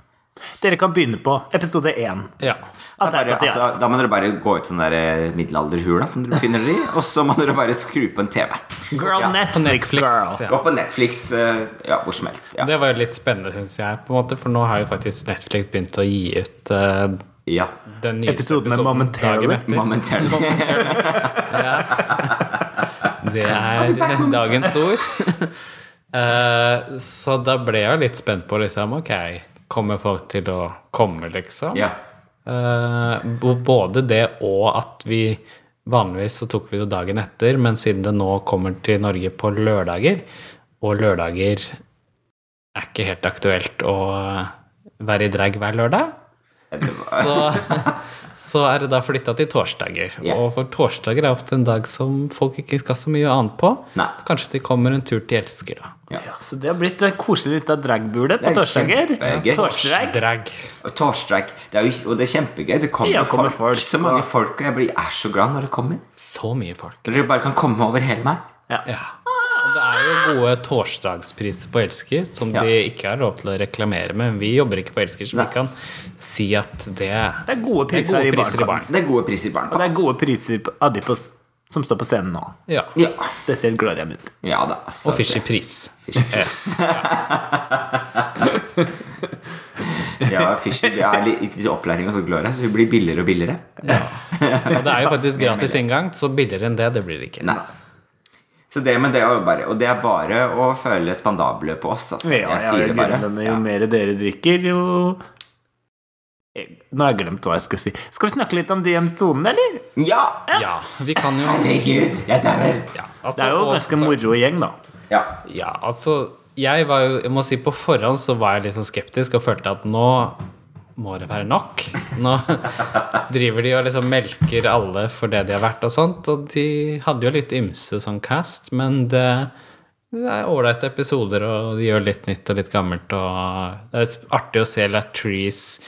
[SPEAKER 3] dere kan begynne på episode én.
[SPEAKER 1] Ja.
[SPEAKER 3] Altså,
[SPEAKER 2] Bare,
[SPEAKER 3] at det er-
[SPEAKER 2] altså, da må dere bare gå ut den der eh, middelalderhula som dere befinner dere i, og så må dere bare skru på en TV.
[SPEAKER 3] Girl
[SPEAKER 1] På
[SPEAKER 2] ja.
[SPEAKER 3] Netflix,
[SPEAKER 1] Netflix.
[SPEAKER 3] girl.
[SPEAKER 1] Ja.
[SPEAKER 2] Gå på Netflix, eh, ja, hvor som helst. Ja.
[SPEAKER 1] Det var jo litt spennende, synes jeg, på en måte, for nå har jo faktisk Netflix begynt å gi ut eh,
[SPEAKER 2] ja.
[SPEAKER 1] den nye
[SPEAKER 3] Episoden
[SPEAKER 1] episoden
[SPEAKER 3] med Momentarily.
[SPEAKER 1] dagen etter.
[SPEAKER 2] Momentarily.
[SPEAKER 1] Det er dagens ord. Eh, så da ble jeg jo litt spent på liksom, ok, kommer folk til å komme, liksom?
[SPEAKER 2] Ja.
[SPEAKER 1] Eh, bo- både det og at vi vanligvis så tok vi det dagen etter, men siden det nå kommer til Norge på lørdager, og lørdager er ikke helt aktuelt å eh, være i drag hver lørdag, så, så er det da flytta til torsdager.
[SPEAKER 2] Ja.
[SPEAKER 1] Og for torsdager er ofte en dag som folk ikke skal så mye annet på.
[SPEAKER 2] Nei.
[SPEAKER 1] Kanskje de kommer en tur til Elsker, da.
[SPEAKER 3] Ja, så det har blitt en koselig liten dragbule på
[SPEAKER 2] Det er
[SPEAKER 3] torsdager.
[SPEAKER 2] kjempegøy.
[SPEAKER 3] Torsdag.
[SPEAKER 1] Drag.
[SPEAKER 2] Og Torsdag. Det er jo, og det er kjempegøy. Det kommer,
[SPEAKER 3] Ja, kommer
[SPEAKER 2] folk,
[SPEAKER 3] folk,
[SPEAKER 2] Så mange folk, og jeg blir, er så glad når det kommer.
[SPEAKER 1] Så mye folk.
[SPEAKER 2] Dere bare kan komme over hele meg.
[SPEAKER 1] Ja. Og det er jo gode torsdagspriser på Elsker, som
[SPEAKER 2] Ja.
[SPEAKER 1] de ikke har lov til å reklamere med. Vi jobber ikke på Elsker, så
[SPEAKER 2] Nei.
[SPEAKER 1] vi kan si at det
[SPEAKER 3] Det er gode
[SPEAKER 1] det er
[SPEAKER 3] priser, i baren.
[SPEAKER 2] Så det er gode priser i
[SPEAKER 3] Og det
[SPEAKER 2] barnepass.
[SPEAKER 3] er gode priser på Adipos som står på scenen nå.
[SPEAKER 1] Ja.
[SPEAKER 2] Ja.
[SPEAKER 3] Spesielt Gloria Mundi.
[SPEAKER 2] ja da, altså.
[SPEAKER 1] Og Fishy Pris.
[SPEAKER 2] Ja, Fischer vi er litt, litt opplæring hos Gloria, så vi blir billigere og billigere.
[SPEAKER 1] Og det er jo faktisk gratis
[SPEAKER 2] Menes.
[SPEAKER 1] inngang, så billigere enn det, det blir det ikke.
[SPEAKER 2] Nei. Så det med det er jo bare Og det er bare å føle spandable på oss, altså.
[SPEAKER 3] Ja,
[SPEAKER 2] jeg sier det bare.
[SPEAKER 3] Jo
[SPEAKER 2] Ja.
[SPEAKER 3] mer dere drikker, jo Nå har jeg glemt hva jeg skulle si. Skal vi snakke litt om de episoden, eller?
[SPEAKER 2] ja!
[SPEAKER 1] Ja, vi kan jo
[SPEAKER 2] Herregud, jeg dauer!
[SPEAKER 1] ja, altså,
[SPEAKER 3] Det er jo
[SPEAKER 1] og-
[SPEAKER 3] ganske moro gjeng, da.
[SPEAKER 2] Ja.
[SPEAKER 1] Ja, altså Jeg var jo, jeg må si på forhånd så var jeg litt sånn skeptisk og følte at nå må det være nok. Nå driver de og liksom melker alle for det de har vært og sånt. Og de hadde jo litt ymse sånn cast, men det, det er ålreite episoder, og de gjør litt nytt og litt gammelt. Og det er artig å se Latrice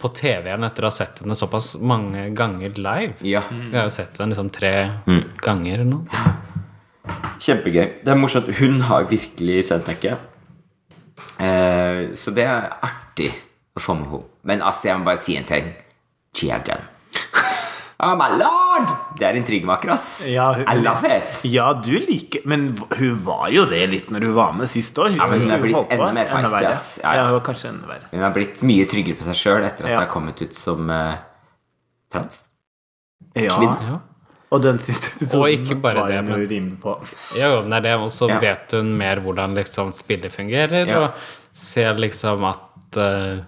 [SPEAKER 1] på TV igjen etter å ha sett henne såpass mange ganger live.
[SPEAKER 2] ja.
[SPEAKER 1] Vi har jo sett henne liksom tre ganger eller noe.
[SPEAKER 2] Kjempegøy. Det er morsomt. Hun har virkelig sendt nekket. Eh, så det er artig å få med henne. Men altså, jeg må bare si en ting. Chia Gunn. Oh my lord! Det er intrigemaker, ass.
[SPEAKER 3] Ja, hun-
[SPEAKER 2] I love it.
[SPEAKER 3] Ja, du liker Men v- hun var jo det litt når hun var med sist òg.
[SPEAKER 2] men hun er blitt enda mer feisty, ass. Ja,
[SPEAKER 3] Ja,
[SPEAKER 2] ja.
[SPEAKER 3] hun var kanskje enda verre.
[SPEAKER 2] Hun har blitt mye tryggere på seg sjøl etter at
[SPEAKER 3] Ja.
[SPEAKER 2] det har kommet ut som eh, trans.
[SPEAKER 3] Ja,
[SPEAKER 1] Ja.
[SPEAKER 3] Og den siste episoden
[SPEAKER 1] Og ikke bare
[SPEAKER 3] var
[SPEAKER 1] det,
[SPEAKER 3] hun jo rimelig på.
[SPEAKER 1] Ja, jo, men det er det. Og så
[SPEAKER 2] Ja.
[SPEAKER 1] vet hun mer hvordan liksom spillet fungerer,
[SPEAKER 2] Ja.
[SPEAKER 1] og ser liksom at eh,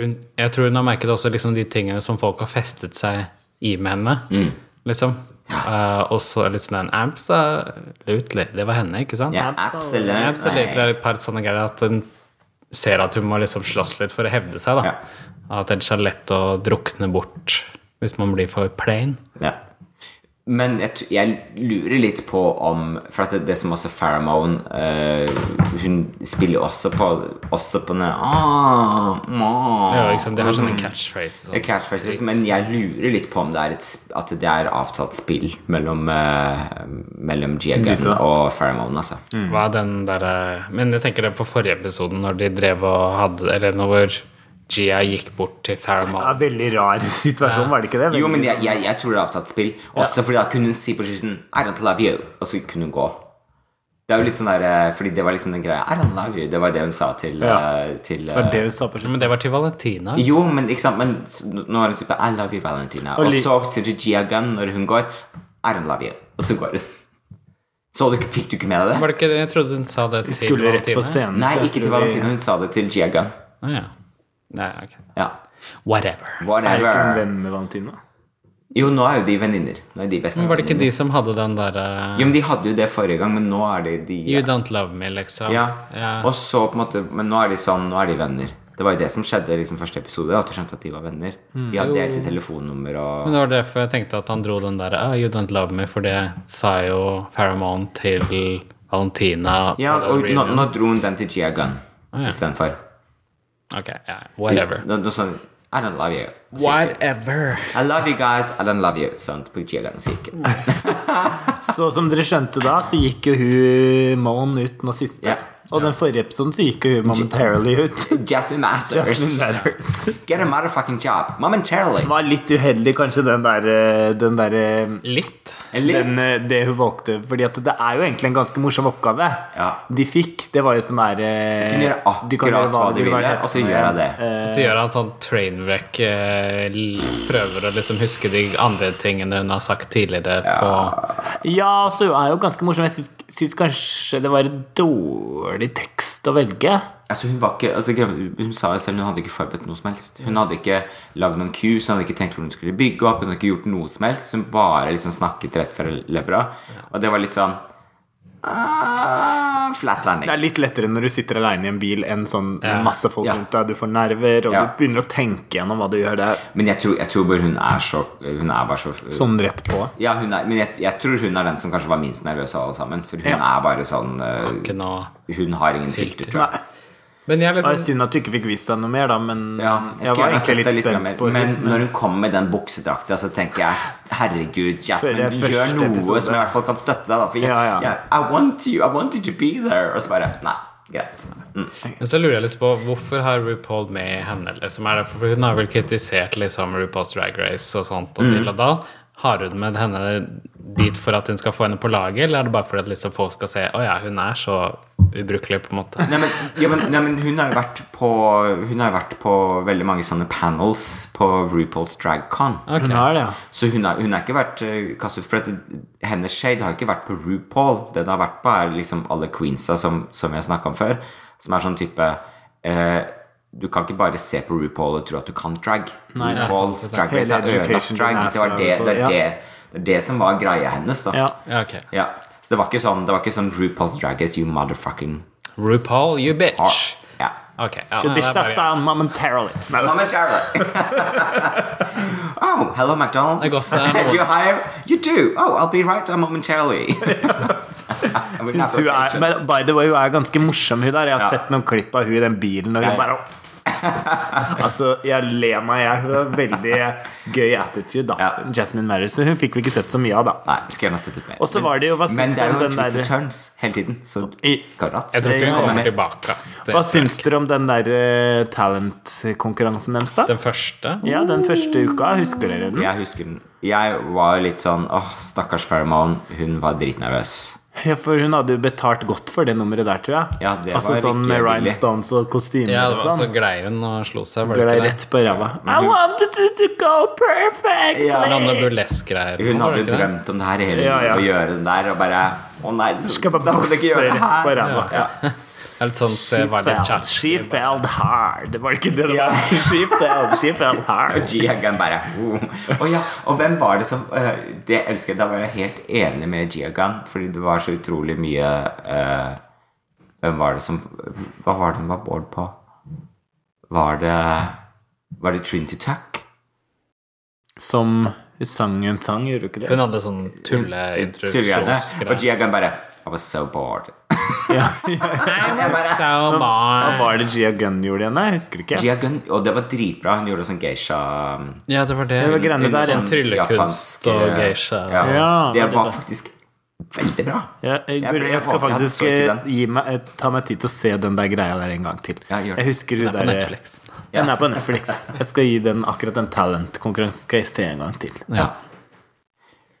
[SPEAKER 1] hun, Jeg tror hun har merket også liksom de tingene som folk har festet seg i med henne,
[SPEAKER 2] Mm.
[SPEAKER 1] liksom. Eh, og så litt sånn den Absolutely. Det var henne, ikke sant?
[SPEAKER 2] Ja, absolutt.
[SPEAKER 1] Absolutely er det et par sånne greier at hun ser at hun må liksom slåss litt for å hevde seg, da.
[SPEAKER 2] Ja.
[SPEAKER 1] At ellers er det lett å drukne bort hvis man blir for plain.
[SPEAKER 2] Ja. Men jeg, t- jeg lurer litt på om For at det, det som også Pharamone eh, Hun spiller jo også på Også på den der ah, ma,
[SPEAKER 1] Ja, liksom, det har sånne
[SPEAKER 2] mm.
[SPEAKER 1] catchphrases. og
[SPEAKER 2] Det er catchphrases, men jeg lurer litt på om det er et, sp- at det er avtalt spill mellom, eh, mellom Gia Gunn
[SPEAKER 3] Gutta.
[SPEAKER 2] og Pharamone, altså.
[SPEAKER 1] Hva er den der eh, Men jeg tenker det på forrige episoden, når de drev og hadde Eller når Gia gikk bort til
[SPEAKER 3] Ja,
[SPEAKER 1] Fairmount.
[SPEAKER 3] veldig rar situasjon, var det ikke det?
[SPEAKER 2] Jo, men
[SPEAKER 3] Veldig-
[SPEAKER 2] jeg, jeg, jeg tror det er avtalt spill. Også fordi da kunne hun si på slutten I don't love you, og så kunne hun gå. Det er jo litt sånn der, eh, Fordi det var liksom den greia I don't love you. Det var det hun sa til,
[SPEAKER 3] Ja.
[SPEAKER 2] eh, til
[SPEAKER 3] Det var
[SPEAKER 2] eh,
[SPEAKER 3] det hun sa på slutten.
[SPEAKER 1] Men det var til Valentina.
[SPEAKER 2] Jo, men ikke sant Men s- n- nå er hun type I love you, Valentina. Og,
[SPEAKER 3] Og li-
[SPEAKER 2] så sier du Gia Gunn når hun går I don't love you. Og så går hun. Så du, fikk du ikke med deg det?
[SPEAKER 1] Var det ikke det? Jeg trodde hun sa det
[SPEAKER 3] Vi
[SPEAKER 1] til
[SPEAKER 3] skulle rett på
[SPEAKER 1] Valentina.
[SPEAKER 3] scenen.
[SPEAKER 2] Nei,
[SPEAKER 3] så jeg
[SPEAKER 2] ikke
[SPEAKER 3] tror
[SPEAKER 2] til
[SPEAKER 3] vi-
[SPEAKER 2] Valentina. Hun sa det til Gia Gunn.
[SPEAKER 1] Å, ja. Nei, ok.
[SPEAKER 2] Ja.
[SPEAKER 1] Whatever.
[SPEAKER 3] Er ikke hun
[SPEAKER 2] Whatever.
[SPEAKER 3] venn med Valentina?
[SPEAKER 2] Jo, nå er jo de venninner. Nå er de beste
[SPEAKER 1] Var det ikke
[SPEAKER 2] venninner.
[SPEAKER 1] de som hadde den derre
[SPEAKER 2] Jo, men De hadde jo det forrige gang, men nå er det de
[SPEAKER 1] You don't love me, liksom?
[SPEAKER 2] Ja.
[SPEAKER 1] Ja.
[SPEAKER 2] Og så på en måte Men nå er de sånn, nå er de venner. Det var jo det som skjedde i liksom første episode. At du skjønte at de var venner. De hadde delt i telefonnummer og
[SPEAKER 1] Men det var derfor jeg tenkte at han dro den der ah, You don't love me, for det sa jo Faramount til Valentina.
[SPEAKER 2] Ja,
[SPEAKER 1] på
[SPEAKER 2] og
[SPEAKER 1] den
[SPEAKER 2] nå, nå
[SPEAKER 1] reunion.
[SPEAKER 2] dro hun den til Gia Gunn
[SPEAKER 1] ja.
[SPEAKER 2] istedenfor.
[SPEAKER 1] Ok, ja, whatever.
[SPEAKER 2] Nå- nå sånn I don't love you. Så gikk det.
[SPEAKER 1] Whatever.
[SPEAKER 2] I love you guys, I don't love you. Sånn på Gia Gunn så gikk det.
[SPEAKER 3] Så som dere skjønte da, så gikk jo hun Moan ut nå siste.
[SPEAKER 2] Ja.
[SPEAKER 3] Og den forrige episoden så gikk jo hun momentarily ut.
[SPEAKER 2] Jasmine
[SPEAKER 3] Jasmine
[SPEAKER 2] Masters.
[SPEAKER 3] Matters.
[SPEAKER 2] Get a motherfucking job. Momentarily.
[SPEAKER 3] Var litt uheldig kanskje den der, eh, den der eh,
[SPEAKER 1] Litt.
[SPEAKER 2] Litt.
[SPEAKER 3] den, eh, det hun valgte. Fordi at det er jo egentlig en ganske morsom oppgave
[SPEAKER 2] Ja.
[SPEAKER 3] de fikk. Det var jo sånn der
[SPEAKER 2] Du
[SPEAKER 3] eh,
[SPEAKER 2] kunne gjøre
[SPEAKER 3] du kan
[SPEAKER 2] akkurat hva du
[SPEAKER 3] vil
[SPEAKER 2] ville,
[SPEAKER 3] være
[SPEAKER 2] og så
[SPEAKER 3] hett med.
[SPEAKER 2] gjør jeg det.
[SPEAKER 1] Så gjør han sånn trainwreck, eh, l- prøver å liksom huske de andre tingene hun har sagt tidligere på
[SPEAKER 3] Ja, og så er jo ganske morsom. Jeg syns- syns kanskje det var en dårlig tekst å velge.
[SPEAKER 2] Altså hun var ikke altså, greia- Hun sa jo selv hun hadde ikke forberedt noe som helst. Hun hadde ikke lagd noen cues, hun hadde ikke tenkt hvor hun skulle bygge opp. Hun hadde ikke gjort noe som helst Hun bare liksom snakket rett fra levra. Og det var litt sånn ah, Flat
[SPEAKER 3] Det
[SPEAKER 2] landing.
[SPEAKER 3] er litt lettere når du sitter alene i en bil enn sånn med masse folk
[SPEAKER 2] Ja.
[SPEAKER 3] rundt deg. Du får nerver, og
[SPEAKER 2] Ja.
[SPEAKER 3] du begynner å tenke gjennom hva du gjør der.
[SPEAKER 2] Men jeg tror, jeg tror bare hun er så Hun er bare så
[SPEAKER 3] Sånn rett på.
[SPEAKER 2] Ja, hun er, men jeg, jeg tror hun er den som kanskje var minst nervøs av alle sammen. For hun er bare sånn eh,
[SPEAKER 1] ikke nå.
[SPEAKER 2] Hun har ingen filter, tror jeg.
[SPEAKER 3] Nei.
[SPEAKER 1] Men jeg er
[SPEAKER 3] Det var
[SPEAKER 1] liksom
[SPEAKER 3] synd at du ikke fikk vist deg noe mer, da, men
[SPEAKER 2] Ja, Mm, jeg
[SPEAKER 3] jeg
[SPEAKER 2] skulle
[SPEAKER 3] var
[SPEAKER 2] gjerne sett
[SPEAKER 3] egentlig
[SPEAKER 2] deg
[SPEAKER 3] litt
[SPEAKER 2] litt liksom
[SPEAKER 3] spent
[SPEAKER 2] mer,
[SPEAKER 3] på
[SPEAKER 2] men
[SPEAKER 3] henne.
[SPEAKER 2] når hun kommer med den buksedrakta, så tenker jeg Herregud, Jasmine,
[SPEAKER 3] Før det er
[SPEAKER 2] gjør
[SPEAKER 3] første
[SPEAKER 2] noe
[SPEAKER 3] episode.
[SPEAKER 2] som jeg i hvert fall kan støtte deg, da. For jeg,
[SPEAKER 3] Ja, ja.
[SPEAKER 2] jeg- I want you, I want you to be there. Og så bare Nei, greit. Mm.
[SPEAKER 1] Men så lurer jeg litt på hvorfor har RuPaul med henne? Liksom? Er det, for hun har vel kritisert liksom, RuPaul's Drag Race og sånt. Og
[SPEAKER 3] Mm.
[SPEAKER 1] til og da. Har hun med henne dit for at hun skal få henne på laget, eller er det bare for at liksom, folk skal se å ja, hun er så ubrukelig, på en måte?
[SPEAKER 2] Nei, men, ja, men, nei, men hun har jo vært på Hun har jo vært på veldig mange sånne panels på RuPaul's Dragcon.
[SPEAKER 1] Ok.
[SPEAKER 3] Hun har det, ja.
[SPEAKER 2] Så hun har, hun har ikke vært eh, kastet ut. For at det- hennes shade har ikke vært på RuPaul. Det det har vært på, er liksom alle queensa som, som jeg snakka om før. Som er sånn type eh, Du kan ikke bare se på RuPaul og tro at du kan drag.
[SPEAKER 3] Nei, det er
[SPEAKER 2] RuPaul's
[SPEAKER 1] sant, det er
[SPEAKER 2] drag
[SPEAKER 3] sant.
[SPEAKER 2] race er
[SPEAKER 3] Hele
[SPEAKER 2] ødelagt
[SPEAKER 3] education
[SPEAKER 2] drag.
[SPEAKER 3] din er
[SPEAKER 2] Det var
[SPEAKER 3] fra
[SPEAKER 2] det, det, er
[SPEAKER 3] RuPaul, ja.
[SPEAKER 2] det, det er det som var greia hennes, da.
[SPEAKER 3] ja.
[SPEAKER 1] Ja, ok.
[SPEAKER 2] Ja. Så det var ikke sånn, det var ikke sånn RuPaul's drag race, you motherfucking
[SPEAKER 1] RuPaul, you bitch!
[SPEAKER 2] Ja.
[SPEAKER 1] Ok. Ja,
[SPEAKER 3] Should
[SPEAKER 1] nei,
[SPEAKER 3] be
[SPEAKER 1] det er
[SPEAKER 3] shut
[SPEAKER 1] bare-
[SPEAKER 3] down momentarily. Nei,
[SPEAKER 2] I'm a terror. oh, hello McDonald's.
[SPEAKER 1] I got that
[SPEAKER 2] Do you hire? You do. Oh, I'll be right there momentarily. With an
[SPEAKER 3] Synes hun er,
[SPEAKER 2] application.
[SPEAKER 3] men by the way, hun er ganske morsom, hun der. Jeg har
[SPEAKER 2] Ja.
[SPEAKER 3] sett noen klipp av hun i den bilen, og
[SPEAKER 2] Ja, ja.
[SPEAKER 3] hun bare Altså, jeg ler meg i hjel. Hun har veldig gøy attitude, da.
[SPEAKER 2] Ja.
[SPEAKER 3] Jasmine Marris. Hun fikk vi ikke sett så mye av, da.
[SPEAKER 2] Nei, skulle gjerne sett litt mer.
[SPEAKER 3] Og så
[SPEAKER 2] Men-
[SPEAKER 3] var det jo- hva syns
[SPEAKER 2] Men det
[SPEAKER 3] du
[SPEAKER 2] er
[SPEAKER 3] om
[SPEAKER 2] jo
[SPEAKER 3] den
[SPEAKER 2] twister
[SPEAKER 3] der-
[SPEAKER 2] turns hele tiden, så
[SPEAKER 3] I-
[SPEAKER 2] karat.
[SPEAKER 1] Jeg tror ikke
[SPEAKER 3] Det
[SPEAKER 1] hun
[SPEAKER 3] kommer.
[SPEAKER 1] kommer tilbake. ass. Det-
[SPEAKER 3] Hva syns dere om den der eh, talentkonkurransen deres, da?
[SPEAKER 1] Den første?
[SPEAKER 3] Ja, den første uka. Husker dere den?
[SPEAKER 2] Jeg husker den. Jeg var litt sånn åh, stakkars Pheromone, hun var dritnervøs.
[SPEAKER 3] Ja, for hun hadde jo betalt godt for det nummeret der, tror jeg.
[SPEAKER 2] Ja, det
[SPEAKER 3] altså
[SPEAKER 2] var
[SPEAKER 3] sånn
[SPEAKER 2] ikke
[SPEAKER 3] med
[SPEAKER 2] billig.
[SPEAKER 3] rhinestones og kostymer
[SPEAKER 1] Ja, det
[SPEAKER 3] og
[SPEAKER 1] var så
[SPEAKER 3] sånn.
[SPEAKER 1] glei hun og slo seg, var
[SPEAKER 3] Ble
[SPEAKER 1] det
[SPEAKER 3] deg
[SPEAKER 1] ikke det?
[SPEAKER 3] rett på ræva. I wanted you to go perfect!
[SPEAKER 2] Mhm. Ja, men
[SPEAKER 1] Blande burlesk-greier. var
[SPEAKER 2] Hun hadde
[SPEAKER 1] det
[SPEAKER 2] jo
[SPEAKER 1] ikke det?
[SPEAKER 2] drømt om det her hele
[SPEAKER 3] Ja, ja.
[SPEAKER 2] livet, å gjøre den der, og bare Å nei, så,
[SPEAKER 3] Skal bare
[SPEAKER 2] da skal du ikke gjøre
[SPEAKER 3] baffe
[SPEAKER 2] det
[SPEAKER 3] rett på
[SPEAKER 2] her.
[SPEAKER 3] ræva.
[SPEAKER 2] Ja.
[SPEAKER 1] Det er litt sånn
[SPEAKER 3] She
[SPEAKER 1] det var litt
[SPEAKER 3] fell- She
[SPEAKER 1] tjatsk.
[SPEAKER 3] fell hard. Var det ikke det det var? She fell, she fell hard.
[SPEAKER 2] Giagan bare oh. Og ja, og hvem var det som eh, Det elsker jeg, da var jeg helt enig med Giagan Fordi det var så utrolig mye eh, Hvem var det som Hva var det hun var board på? Var det Var det Trinity Tuck?
[SPEAKER 3] Som Hun sang en sang, gjorde hun ikke det?
[SPEAKER 1] Hun hadde sånn
[SPEAKER 2] Tullgreiene. Og
[SPEAKER 1] tulleintroduksjonsgreier.
[SPEAKER 2] Gia Gunn bare I was so bored.
[SPEAKER 3] Ja.
[SPEAKER 1] So
[SPEAKER 3] Hva
[SPEAKER 1] bad.
[SPEAKER 3] var det Gia Gunn gjorde igjen? Nei, jeg husker ikke.
[SPEAKER 2] Gia Gunn, og det var dritbra. Hun gjorde sånn geisha
[SPEAKER 1] Ja, det var det.
[SPEAKER 3] Det var greiene der, ja.
[SPEAKER 1] Sånn tryllekunst
[SPEAKER 2] japansk,
[SPEAKER 1] og
[SPEAKER 2] eh,
[SPEAKER 1] geisha.
[SPEAKER 2] Ja.
[SPEAKER 3] Ja,
[SPEAKER 2] det
[SPEAKER 3] det
[SPEAKER 2] var faktisk veldig bra.
[SPEAKER 3] Ja, jeg,
[SPEAKER 2] Jeg
[SPEAKER 3] burde,
[SPEAKER 2] ble-
[SPEAKER 3] jeg skal
[SPEAKER 2] jeg hadde
[SPEAKER 3] faktisk
[SPEAKER 2] så ikke
[SPEAKER 3] eh,
[SPEAKER 2] den.
[SPEAKER 3] gi meg, eh, ta meg tid til å se den der greia der en gang til.
[SPEAKER 2] Ja, gjør det.
[SPEAKER 3] Jeg husker hun
[SPEAKER 1] På
[SPEAKER 3] der
[SPEAKER 1] Netflix.
[SPEAKER 3] Den er på Netflix. Jeg skal gi den akkurat den talentkonkurransen skal jeg se en gang til.
[SPEAKER 1] Ja.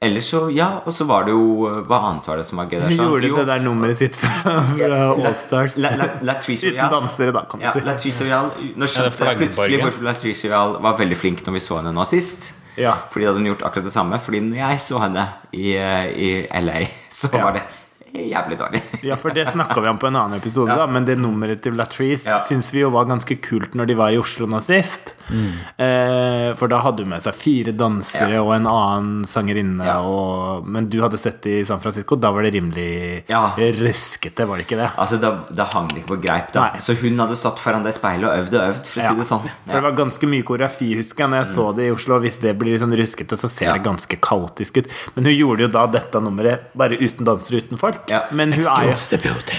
[SPEAKER 2] Ellers så, ja, og så var det jo eh, Hva annet var det som var gøy der?
[SPEAKER 3] Hun
[SPEAKER 2] sa han?
[SPEAKER 3] gjorde
[SPEAKER 2] Jo,
[SPEAKER 3] det der nummeret sitt fra, fra
[SPEAKER 2] La-
[SPEAKER 3] Allstars.
[SPEAKER 2] La- La- Latrice
[SPEAKER 3] Uten
[SPEAKER 2] Royale.
[SPEAKER 3] dansere, da, kan du
[SPEAKER 2] Ja,
[SPEAKER 3] si.
[SPEAKER 2] Latrice Royale Nå skjønte jeg
[SPEAKER 1] flaggborgen.
[SPEAKER 2] plutselig hvorfor Latrice Royale var veldig flink når vi så henne nå sist.
[SPEAKER 3] Ja.
[SPEAKER 2] Fordi da hadde hun gjort akkurat det samme. Fordi når jeg så henne i, eh, i LA, så var det jævlig dårlig.
[SPEAKER 3] Ja, for det snakka vi om på en annen episode, da, men det nummeret til Latrice
[SPEAKER 2] Ja.
[SPEAKER 3] syns vi jo var ganske kult når de var i Oslo nå sist. Eh, for da hadde hun med seg fire dansere og en annen sangerinne,
[SPEAKER 2] Ja.
[SPEAKER 3] og, men du hadde sett det i San Francisco, da var det rimelig
[SPEAKER 2] Ja.
[SPEAKER 3] røskete, var det ikke det?
[SPEAKER 2] Altså, da, da hang det ikke på greip, da.
[SPEAKER 3] Nei.
[SPEAKER 2] Så hun hadde stått foran det speilet og øvd og øvd, for å si det sånn.
[SPEAKER 3] For det var ganske mye koreografi, husker jeg, når jeg så det i Oslo. og Hvis det blir litt sånn ruskete, så ser
[SPEAKER 2] Mm. Ja.
[SPEAKER 3] det ganske kaotisk ut. Men hun gjorde jo da dette nummeret bare uten dansere, uten folk.
[SPEAKER 2] Ja.
[SPEAKER 3] Men hun er jo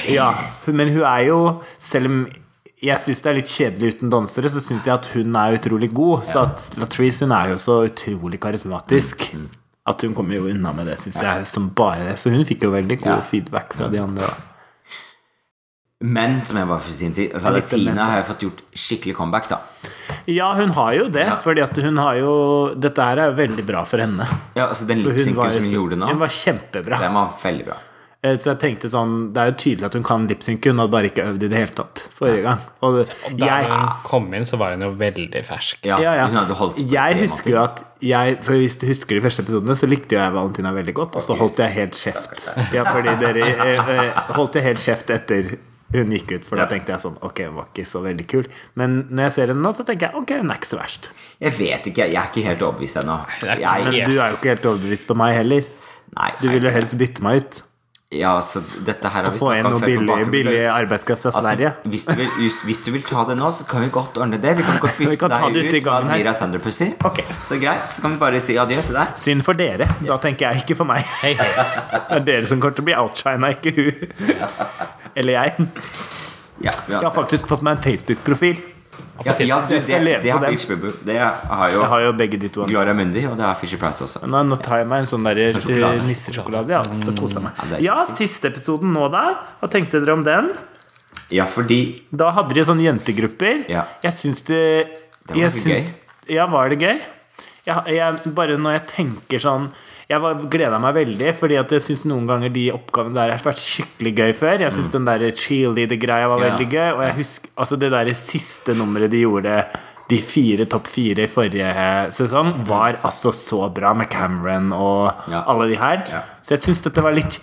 [SPEAKER 3] Ja, hun- men hun er jo Selv om jeg syns det er litt kjedelig uten dansere, så syns jeg at hun er utrolig god. Så at Latrice hun er jo så
[SPEAKER 2] Mm,
[SPEAKER 3] utrolig karismatisk. At hun kommer jo unna med det, syns jeg. Som bare, så hun fikk jo veldig
[SPEAKER 2] Ja.
[SPEAKER 3] god feedback fra de andre. da.
[SPEAKER 2] Men som jeg bare for sin tid Valentina har jo fått gjort skikkelig comeback, da.
[SPEAKER 3] Ja, hun har jo det.
[SPEAKER 2] Ja.
[SPEAKER 3] Fordi at hun har jo Dette her er jo veldig bra for henne.
[SPEAKER 2] Ja, altså Den
[SPEAKER 3] For hun var,
[SPEAKER 2] lipsynken som hun
[SPEAKER 3] jo-
[SPEAKER 2] gjorde nå,
[SPEAKER 3] hun var kjempebra.
[SPEAKER 2] den var veldig bra.
[SPEAKER 3] Eh, Så jeg tenkte sånn Det er jo tydelig at hun kan lipsynke. Hun hadde bare ikke øvd i det hele tatt forrige gang. Og
[SPEAKER 1] Da
[SPEAKER 3] jeg
[SPEAKER 1] hun kom inn, så var hun jo veldig fersk.
[SPEAKER 2] Ja,
[SPEAKER 3] ja, ja.
[SPEAKER 2] Hun hadde holdt på i
[SPEAKER 3] Jeg
[SPEAKER 2] tre
[SPEAKER 3] husker jo at jeg, for Hvis du husker de første episodene, så likte jo jeg Valentina veldig godt. Og så holdt jeg helt kjeft. Ja, fordi dere eh, eh, holdt jeg helt kjeft etter hun gikk ut, for da
[SPEAKER 2] Ja.
[SPEAKER 3] tenkte jeg sånn Ok, hun var ikke så veldig kul. Men når jeg ser henne nå, så tenker jeg ok, hun er ikke så verst.
[SPEAKER 2] måneder. Jeg vet ikke, jeg er ikke helt overbevist ennå.
[SPEAKER 1] det er ikke-
[SPEAKER 2] Jeg-
[SPEAKER 3] Men du er jo ikke helt overbevist på meg heller.
[SPEAKER 2] Nei,
[SPEAKER 3] Du ville helst bytte meg ut.
[SPEAKER 2] Ja, altså, dette her har vi
[SPEAKER 3] Få
[SPEAKER 2] snakket
[SPEAKER 3] inn
[SPEAKER 2] om
[SPEAKER 3] noe
[SPEAKER 2] før på
[SPEAKER 3] billig,
[SPEAKER 2] bakgrunnen.
[SPEAKER 3] billig arbeidskraft fra
[SPEAKER 2] Altså,
[SPEAKER 3] Sverige.
[SPEAKER 2] hvis, du vil, hvis- hvis du vil ta det nå, så kan vi godt ordne det. Vi kan godt
[SPEAKER 3] Vi
[SPEAKER 2] bytte
[SPEAKER 3] kan ta det
[SPEAKER 2] deg
[SPEAKER 3] ute i
[SPEAKER 2] ut med
[SPEAKER 3] gangen her.
[SPEAKER 2] Mira Sanderpussy.
[SPEAKER 3] Ok.
[SPEAKER 2] Så greit, så kan vi bare si adjø til deg.
[SPEAKER 3] Synd for dere. Da tenker jeg ikke for meg.
[SPEAKER 1] Hei, hei.
[SPEAKER 3] Det er dere som kommer til å bli outshina, ikke hun. Eller jeg.
[SPEAKER 2] Ja,
[SPEAKER 3] Jeg har
[SPEAKER 2] uansett.
[SPEAKER 3] faktisk fått meg en Facebook-profil.
[SPEAKER 2] ja, ja du,
[SPEAKER 3] Jeg skal
[SPEAKER 2] det,
[SPEAKER 3] leve
[SPEAKER 2] det
[SPEAKER 3] på
[SPEAKER 2] har
[SPEAKER 3] den.
[SPEAKER 2] Beach Bubble. Det har jo
[SPEAKER 3] Jeg har jo begge de to.
[SPEAKER 2] Gloria Mundi, og det har Fisher Price også.
[SPEAKER 3] Nå, nå tar jeg meg en sånn der eh,
[SPEAKER 2] Sånn sjokolade.
[SPEAKER 3] nissesjokolade. Ja, så koser jeg
[SPEAKER 2] Ja, det
[SPEAKER 3] meg.
[SPEAKER 2] er
[SPEAKER 3] Ja, siste episoden nå, da. Hva tenkte dere om den?
[SPEAKER 2] Ja, fordi
[SPEAKER 3] Da hadde de sånne jentegrupper.
[SPEAKER 2] Ja.
[SPEAKER 3] Jeg syns det
[SPEAKER 2] Det var
[SPEAKER 3] jeg
[SPEAKER 2] så
[SPEAKER 3] syns- Ja, var det gøy? Jeg, jeg, bare når jeg tenker sånn Jeg gleda meg veldig, Fordi at jeg syns noen ganger de oppgavene der har vært skikkelig gøy før. Jeg syns den der cheerleader-greia var
[SPEAKER 2] Mm. Ja.
[SPEAKER 3] veldig gøy. Og jeg husker altså det der siste nummeret de gjorde, de fire topp fire i forrige sesong, var altså så bra med Cameron og
[SPEAKER 2] Mm. Ja.
[SPEAKER 3] alle de her.
[SPEAKER 2] Ja.
[SPEAKER 3] Så jeg syns dette var litt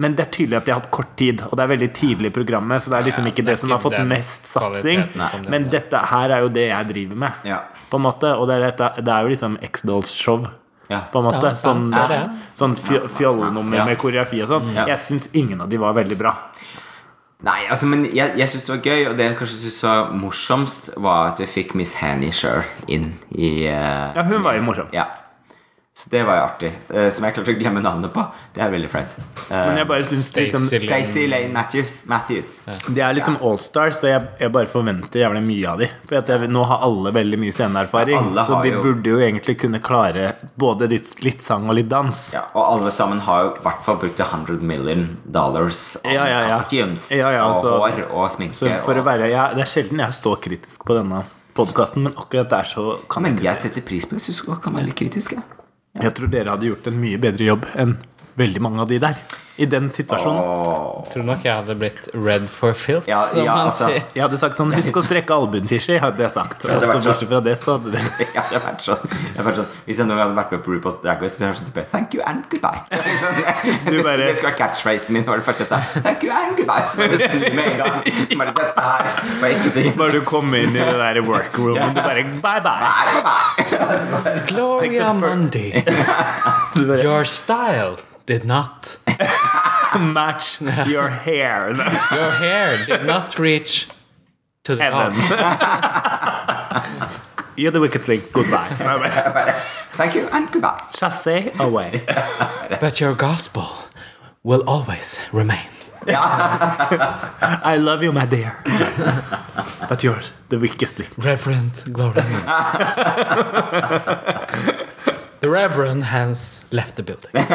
[SPEAKER 3] men det er tydelig at de har hatt kort tid, og det er veldig tidlig i programmet. Så det er liksom ikke det,
[SPEAKER 1] er
[SPEAKER 3] som
[SPEAKER 1] ikke
[SPEAKER 3] har fått
[SPEAKER 1] den
[SPEAKER 3] mest satsing.
[SPEAKER 1] kvaliteten som det
[SPEAKER 3] Men
[SPEAKER 1] er.
[SPEAKER 3] dette her er jo det jeg driver med,
[SPEAKER 2] Ja.
[SPEAKER 3] på en måte. Og det er, dette, det er jo liksom X-Dolls show,
[SPEAKER 2] Ja.
[SPEAKER 3] på en måte.
[SPEAKER 1] Ja,
[SPEAKER 3] sånn
[SPEAKER 1] ja, det er det.
[SPEAKER 3] sånn fjo- fjollenummer
[SPEAKER 2] Ja.
[SPEAKER 3] med koreografi og sånn.
[SPEAKER 2] Ja.
[SPEAKER 3] Jeg syns ingen av de var veldig bra.
[SPEAKER 2] Nei, altså, men jeg, jeg syns det var gøy, og det jeg kanskje synes var morsomst, var at vi fikk Miss Hanny sjøl inn i eh,
[SPEAKER 3] Ja, hun var jo morsom.
[SPEAKER 2] Ja. Så det var jo artig. Eh, som jeg klarte å glemme navnet på. Det er veldig flaut. Eh,
[SPEAKER 3] Men jeg bare syns det liksom,
[SPEAKER 1] Stacey.
[SPEAKER 2] Stacey Lane Matthews. Matthews.
[SPEAKER 3] det er liksom Allstar, så jeg, jeg bare forventer jævlig mye av de. For at jeg, nå har alle veldig
[SPEAKER 2] Ja,
[SPEAKER 3] mye sceneerfaring,
[SPEAKER 2] alle
[SPEAKER 3] så
[SPEAKER 2] har
[SPEAKER 3] de
[SPEAKER 2] jo-
[SPEAKER 3] burde jo egentlig kunne klare både litt, litt sang og litt dans.
[SPEAKER 2] Ja, og alle sammen har jo i hvert fall brukt 100 million dollars om
[SPEAKER 3] Ja, ja, ja.
[SPEAKER 2] costumes
[SPEAKER 3] Ja, ja, altså-
[SPEAKER 2] og hår og sminke.
[SPEAKER 3] Så eh, for å
[SPEAKER 2] og,
[SPEAKER 3] være, jeg, det er sjelden jeg er så kritisk på denne podkasten, men akkurat der så kan jeg
[SPEAKER 2] men
[SPEAKER 3] ikke
[SPEAKER 2] jeg setter pris på det. Jeg syns du kan være litt kritisk. jeg.
[SPEAKER 3] si Jeg tror dere hadde gjort en mye bedre jobb enn veldig mange av de der. I den situasjonen.
[SPEAKER 1] Tror nok jeg hadde blitt red for filth,
[SPEAKER 2] Ja,
[SPEAKER 1] som
[SPEAKER 2] ja,
[SPEAKER 1] man
[SPEAKER 2] altså.
[SPEAKER 1] sier.
[SPEAKER 3] Jeg hadde sagt sånn Husk å trekke albuenfisher, hadde jeg sagt.
[SPEAKER 2] hadde
[SPEAKER 3] Og så
[SPEAKER 2] vært sånn.
[SPEAKER 3] bortsett fra det, så hadde det
[SPEAKER 2] Ja, det har vært sånn. Det har vært sånn. Hvis jeg noen gang hadde vært med på RuPaul's Drag Race, så hadde jeg vært sånn type, Thank you and goodbye. Det er Liksom, det,
[SPEAKER 3] bare-
[SPEAKER 2] det skulle være catchphrasen min. Var det første jeg sa. Thank you and goodbye. Så bare snu med en gang. Bare dette her var ikke til
[SPEAKER 3] Bare du kom inn i det der workroomen, du bare Bye, bye.
[SPEAKER 1] Gloria Mundi,
[SPEAKER 3] Du bare,
[SPEAKER 1] your style did not
[SPEAKER 3] Match your hair.
[SPEAKER 1] Your hair did not reach to the
[SPEAKER 3] Heaven.
[SPEAKER 1] top.
[SPEAKER 3] You're the wicked thing. Goodbye.
[SPEAKER 2] Thank you and goodbye.
[SPEAKER 3] Chassé away.
[SPEAKER 1] But your gospel will always remain.
[SPEAKER 3] I love you, my dear. But yours, the weakest link.
[SPEAKER 1] Reverend Glory. the Reverend has left the building.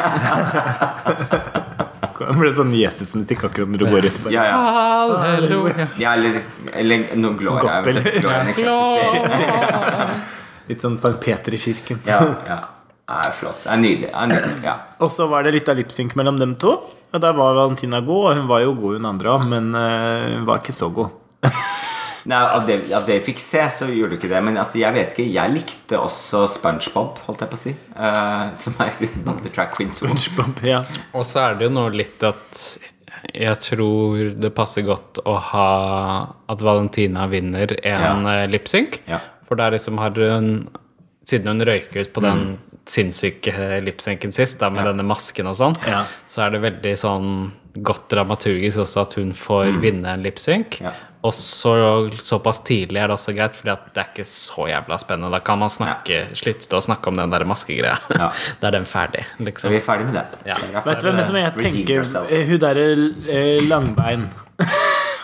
[SPEAKER 3] Det ble sånn Jesusmusikk akkurat når du går ut.
[SPEAKER 2] Ja, ja.
[SPEAKER 1] Halleluja.
[SPEAKER 2] ja eller, eller noe gloria.
[SPEAKER 3] Gospel.
[SPEAKER 2] eventuelt. Gloria next existerer.
[SPEAKER 3] Litt sånn Sankt Peter i kirken.
[SPEAKER 2] Ja, ja. Det er flott. Det er nydelig. Det er nydelig. Ja.
[SPEAKER 3] Og så var det litt av lipsynk mellom dem to. Og der var Valentina god, og hun var jo god hun andre òg, men eh, hun var ikke så god.
[SPEAKER 2] Nei, av det, av det vi fikk se, så gjorde du ikke det. Men altså, jeg vet ikke, jeg likte også SpongeBob, holdt jeg på å si. Eh, som er Bob the Track Queens.
[SPEAKER 3] SpongeBob, ja.
[SPEAKER 1] Og så er det jo nå litt at jeg tror det passer godt å ha at Valentina vinner en ja. lipsynk.
[SPEAKER 2] Ja.
[SPEAKER 1] For der liksom har hun Siden hun røyker ut på den sinnssyke lipsynken sist, da, med denne masken og sånn,
[SPEAKER 3] Ja.
[SPEAKER 1] så er det veldig sånn godt dramaturgisk også at hun får vinne en lipsynk.
[SPEAKER 2] Ja.
[SPEAKER 1] Og så, såpass tidlig er det også greit, Fordi at det er ikke så jævla spennende. Da kan man snakke, slutte å snakke om den der maskegreia.
[SPEAKER 2] Ja.
[SPEAKER 1] Da er den ferdig, liksom.
[SPEAKER 2] Så vi er ferdig med det.
[SPEAKER 1] Ja.
[SPEAKER 2] Vi er ferdig
[SPEAKER 3] Vet du hvem
[SPEAKER 2] med
[SPEAKER 3] som jeg
[SPEAKER 2] Redeem
[SPEAKER 3] tenker
[SPEAKER 2] yourself.
[SPEAKER 3] eh, Hun derre eh, Langbein.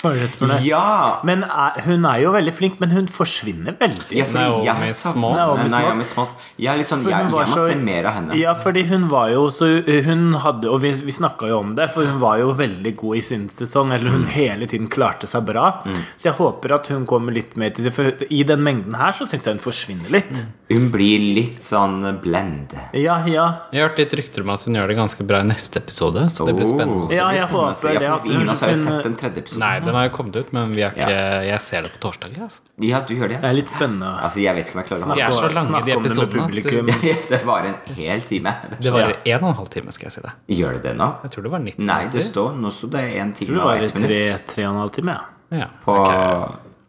[SPEAKER 3] Hva er det for noe?
[SPEAKER 2] Ja!
[SPEAKER 3] Men er, hun er jo veldig flink, men hun forsvinner veldig.
[SPEAKER 2] ja fordi
[SPEAKER 1] Naomi
[SPEAKER 2] jeg savner
[SPEAKER 1] Smalls.
[SPEAKER 2] Nei,
[SPEAKER 3] Naomi
[SPEAKER 2] Naomi Smalls. Jeg er litt sånn,
[SPEAKER 3] For
[SPEAKER 2] jeg,
[SPEAKER 3] hun var
[SPEAKER 2] jeg må
[SPEAKER 3] så-
[SPEAKER 2] se mer av henne.
[SPEAKER 3] Ja, fordi hun var jo så Hun hadde Og vi, vi snakka jo om det, for hun var jo veldig god i sin sesong. Eller
[SPEAKER 2] Mm.
[SPEAKER 3] hun hele tiden klarte seg bra. Så jeg håper at hun kommer litt mer til det. For i den mengden her så syns jeg hun forsvinner litt.
[SPEAKER 1] Mm.
[SPEAKER 2] Hun blir litt sånn blend.
[SPEAKER 3] Ja, ja.
[SPEAKER 1] Jeg har hørt litt rykter om at hun gjør det ganske bra i neste episode, så det blir
[SPEAKER 2] Oh.
[SPEAKER 1] spennende. å se.
[SPEAKER 3] Ja,
[SPEAKER 2] Det blir spennende
[SPEAKER 3] jeg
[SPEAKER 2] å
[SPEAKER 3] håper
[SPEAKER 2] se. Ja,
[SPEAKER 3] det
[SPEAKER 2] for
[SPEAKER 3] at hun
[SPEAKER 2] Ingen av oss har jo
[SPEAKER 3] kunne-
[SPEAKER 2] sett den tredje episoden.
[SPEAKER 1] Nei, den har jo kommet ut, men vi har ikke, jeg ser det på torsdag. Altså.
[SPEAKER 2] Ja, du gjør det.
[SPEAKER 3] Det er litt spennende.
[SPEAKER 2] Altså, jeg vet ikke om jeg klarer
[SPEAKER 1] De
[SPEAKER 2] å ha
[SPEAKER 1] er så
[SPEAKER 3] Snakke-
[SPEAKER 1] lange, de
[SPEAKER 3] snakke om det med
[SPEAKER 1] episodene. at eh,
[SPEAKER 3] publikum.
[SPEAKER 1] det-
[SPEAKER 2] Det var en hel time.
[SPEAKER 1] Det var en og en halv time, skal jeg si det.
[SPEAKER 2] Gjør det det nå?
[SPEAKER 1] Jeg tror det var 90
[SPEAKER 2] Nei, det
[SPEAKER 1] minutter.
[SPEAKER 2] står, nå står det en
[SPEAKER 3] Jeg tror
[SPEAKER 2] time
[SPEAKER 3] det
[SPEAKER 2] og
[SPEAKER 3] var
[SPEAKER 2] ett
[SPEAKER 3] tre,
[SPEAKER 2] minutt. Mm.
[SPEAKER 3] tre og en halv time, ja.
[SPEAKER 1] Ja,
[SPEAKER 2] På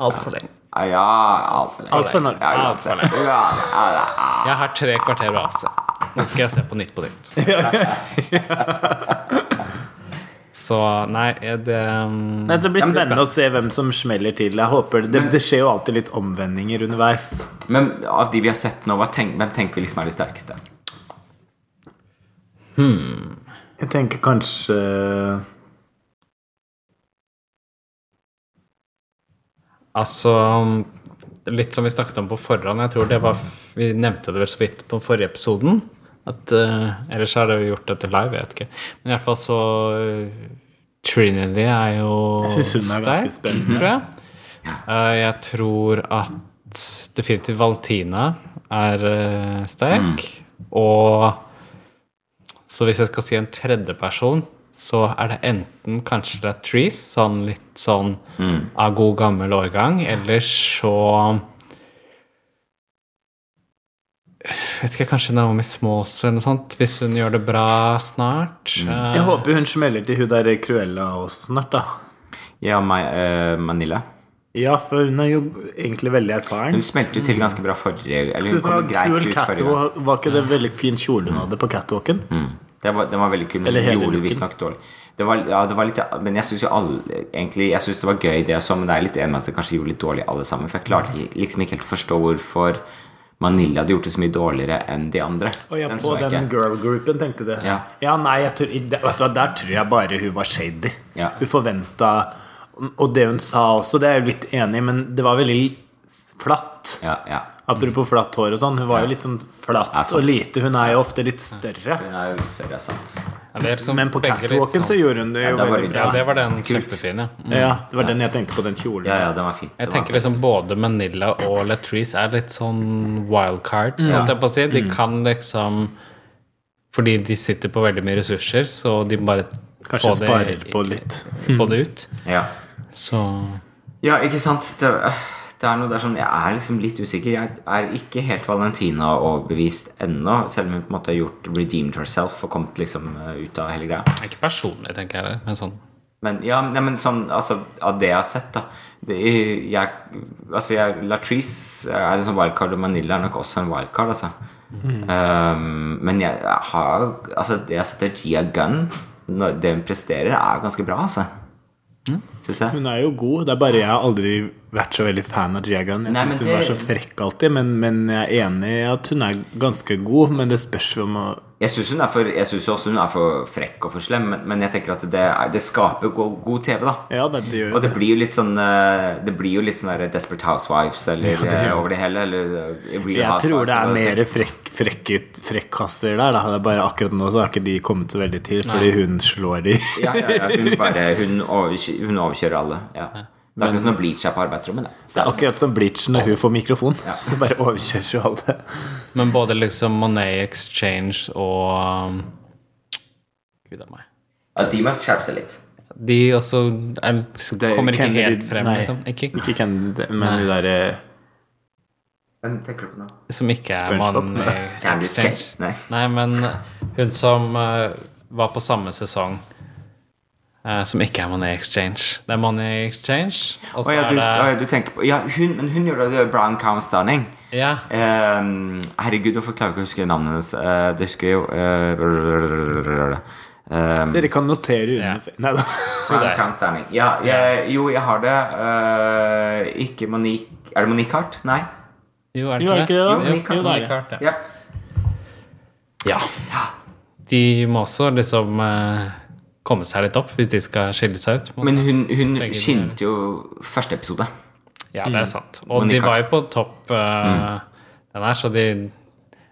[SPEAKER 1] Altfor lenge.
[SPEAKER 2] Ah, Ja, altfor
[SPEAKER 3] Alt for Norge.
[SPEAKER 2] Ja,
[SPEAKER 1] Alt for
[SPEAKER 2] uansett. Ja, ja, ja.
[SPEAKER 1] Jeg har tre kvarter å avse. Nå skal jeg se på Nytt på Nytt. Så nei, er det um,
[SPEAKER 3] Nei, det blir
[SPEAKER 2] Ja, men det er
[SPEAKER 3] spennende å se hvem som smeller til. Jeg håper Det, det skjer jo alltid litt omvendinger underveis.
[SPEAKER 2] Men av de vi har sett nå, hva tenk, hvem tenker vi liksom er de sterkeste?
[SPEAKER 3] Jeg tenker kanskje
[SPEAKER 1] Altså Litt som vi snakket om på forhånd, jeg tror det var Vi nevnte det vel så vidt på forrige episoden. At, eh, ellers har vi gjort dette live, jeg vet ikke. Men i hvert fall så eh, Trinity er jo
[SPEAKER 3] Jeg synes hun er ganske
[SPEAKER 1] sterk,
[SPEAKER 3] spennende.
[SPEAKER 1] tror jeg. Eh, jeg tror at definitivt Valentina er eh, sterk. Og så hvis jeg skal si en tredjeperson, så er det enten kanskje det er Trees, sånn litt sånn av god gammel årgang, eller så Vet ikke, kanskje Naomi Smalls eller noe sånt, hvis hun gjør det bra snart. Eh,
[SPEAKER 3] Jeg håper hun smeller til hun der Cruella også snart, da.
[SPEAKER 2] Ja, meg, eh, Manila.
[SPEAKER 3] Ja, for hun er jo egentlig veldig erfaren.
[SPEAKER 2] Hun smelte jo til ganske bra forrige Eller
[SPEAKER 3] Mm. Jeg
[SPEAKER 2] hun
[SPEAKER 3] synes det
[SPEAKER 2] kom
[SPEAKER 3] var
[SPEAKER 2] greit
[SPEAKER 3] kul
[SPEAKER 2] ut forrige gang. Mm.
[SPEAKER 3] catwalk.
[SPEAKER 1] Mm.
[SPEAKER 3] Var ikke det veldig fin kjole hun hadde på catwalken?
[SPEAKER 2] Det var, den var veldig kul, men
[SPEAKER 3] Eller
[SPEAKER 2] den
[SPEAKER 3] hele
[SPEAKER 2] gjorde
[SPEAKER 3] looken.
[SPEAKER 2] visstnok dårlig. Det var, ja, det var litt, men jeg syns jo alle Egentlig, jeg synes det var gøy, det jeg så, men jeg er litt enig med at det kanskje gjorde litt dårlig, alle sammen. For jeg klarte liksom ikke helt å forstå hvorfor Manila hadde gjort det så mye dårligere enn de andre.
[SPEAKER 3] Og jeg,
[SPEAKER 2] Den
[SPEAKER 3] på
[SPEAKER 2] så jeg
[SPEAKER 3] den
[SPEAKER 2] ikke.
[SPEAKER 3] girl-groupen, tenkte du det?
[SPEAKER 2] Ja.
[SPEAKER 3] nei, jeg tror, i- vet du hva, der tror jeg bare hun var shady.
[SPEAKER 2] Ja.
[SPEAKER 3] Hun forventa Og det hun sa også, det er jeg litt enig i, men det var veldig flatt.
[SPEAKER 2] Ja, ja.
[SPEAKER 3] Apropos flatt hår og sånn, hun var jo litt sånn
[SPEAKER 2] Ja,
[SPEAKER 3] flatt
[SPEAKER 2] sant.
[SPEAKER 3] og lite. Hun er jo ofte litt større.
[SPEAKER 2] Hun er jo større, sant.
[SPEAKER 1] ja, det er liksom
[SPEAKER 3] Men på
[SPEAKER 1] begge litt
[SPEAKER 3] catwalken så
[SPEAKER 1] sånn-
[SPEAKER 3] gjorde hun det jo
[SPEAKER 2] da var
[SPEAKER 3] veldig
[SPEAKER 2] det sånn.
[SPEAKER 1] Ja,
[SPEAKER 3] bra.
[SPEAKER 1] det var den kjempefine. Ja.
[SPEAKER 3] Ja, det var den jeg tenkte på, den kjolen.
[SPEAKER 2] Ja, ja, den var fin. Den
[SPEAKER 1] Jeg
[SPEAKER 2] var
[SPEAKER 1] tenker liksom både Manila og Latrice er litt sånn wildcards, holdt jeg på å si. De kan liksom Fordi de sitter på veldig mye ressurser, så de bare
[SPEAKER 3] Kanskje
[SPEAKER 1] får
[SPEAKER 3] sparer
[SPEAKER 1] det,
[SPEAKER 3] på litt.
[SPEAKER 1] Få det ut.
[SPEAKER 2] Ja.
[SPEAKER 1] Så
[SPEAKER 2] ja, ikke sant. Det, det er noe der sånn Jeg er liksom litt usikker. Jeg er ikke helt Valentina overbevist ennå, selv om hun på en måte har gjort redeemed herself og kommet liksom eh, ut av hele greia.
[SPEAKER 1] Ikke personlig, tenker jeg, men sånn
[SPEAKER 2] Men ja, nei, men sånn altså, av det jeg har sett, da det, jeg, Altså, jeg, Latrice er en sånn wildcard, og Manila er nok også en wildcard, altså. Um, men jeg, jeg har Altså, det jeg setter Gia Gunn, når det hun presterer, er ganske bra, altså. Synes jeg.
[SPEAKER 3] Hun er jo god. Det er bare jeg har aldri vært så veldig fan av Jagan. Jeg
[SPEAKER 2] Nei,
[SPEAKER 3] syns
[SPEAKER 2] men
[SPEAKER 3] hun var
[SPEAKER 2] det-
[SPEAKER 3] så frekk alltid, men, men jeg er enig i at hun er ganske god. Men det spørs jo om å
[SPEAKER 2] Jeg syns hun er for Jeg synes jo også hun er for frekk og for slem, men, men jeg tenker at det, er, det skaper god, god TV, da.
[SPEAKER 3] Ja, det, det gjør
[SPEAKER 2] Og det blir jo litt sånn eh, Det blir jo litt sånn der Desperate Housewives eller
[SPEAKER 3] det gjør
[SPEAKER 2] eh,
[SPEAKER 3] det.
[SPEAKER 2] over det hele. Eller eh, Real
[SPEAKER 3] Jeg tror
[SPEAKER 2] Housewives,
[SPEAKER 3] det er
[SPEAKER 2] eller-
[SPEAKER 3] mer frekk, frekket, frekkasser der. Da. Det er bare akkurat nå så har ikke de kommet så veldig til, fordi hun slår de.
[SPEAKER 2] ja, ja, ja, hun, bare, hun, overkjø, hun overkjører alle. Ja. Det er ikke sånn å bleach her på arbeidsrommet. Det.
[SPEAKER 3] Det er akkurat som Bleach når hun får mikrofon. Så bare overkjører hun alle.
[SPEAKER 1] Men både liksom Monet Exchange og um, Gud a meg.
[SPEAKER 2] Ja, de må skjerpe seg litt.
[SPEAKER 1] De også er,
[SPEAKER 3] Det-
[SPEAKER 1] kommer ikke
[SPEAKER 3] Kennedy-
[SPEAKER 1] helt frem,
[SPEAKER 3] nei.
[SPEAKER 1] liksom. Ikke,
[SPEAKER 3] Ikke Kennedy, men eh, hun derre
[SPEAKER 2] Hvem tenker du på nå?
[SPEAKER 1] som ikke er
[SPEAKER 3] SpongeBob,
[SPEAKER 1] Monet
[SPEAKER 3] nei.
[SPEAKER 2] Candy
[SPEAKER 1] Exchange.
[SPEAKER 2] Crush? Nei.
[SPEAKER 1] Nei, men hun som eh, var på samme sesong eh, som ikke er Money Exchange. Det er Money Exchange, og så
[SPEAKER 2] Å ja, du, å
[SPEAKER 1] er
[SPEAKER 2] ja, du tenker på Ja, hun, men hun gjør det Brown Cow Stunning.
[SPEAKER 1] det Ja,
[SPEAKER 2] Ehm, herregud, hvorfor klarer jeg ikke å huske navnet hennes? Eh, det husker jeg jo eh, ehm,
[SPEAKER 3] Dere kan notere under Nei da.
[SPEAKER 2] Brown Cow Stunning. Ja, jeg, jo, jeg har det. Eh, ikke Monique Er det Monique Hart? Nei.
[SPEAKER 1] jo, er det
[SPEAKER 3] Jo, er det
[SPEAKER 1] ikke det?
[SPEAKER 3] ikke
[SPEAKER 2] Jo, Monique
[SPEAKER 3] det? da? Jo, det er det.
[SPEAKER 1] Kart, ja.
[SPEAKER 2] Ja.
[SPEAKER 1] Ja. De må også liksom eh, komme seg litt opp hvis de skal skille seg ut.
[SPEAKER 2] Men hun, hun skinte jo første episode.
[SPEAKER 1] Ja, det er sant. Og
[SPEAKER 2] Mm. Monica. Mm.
[SPEAKER 1] de var jo på topp eh, den her, så de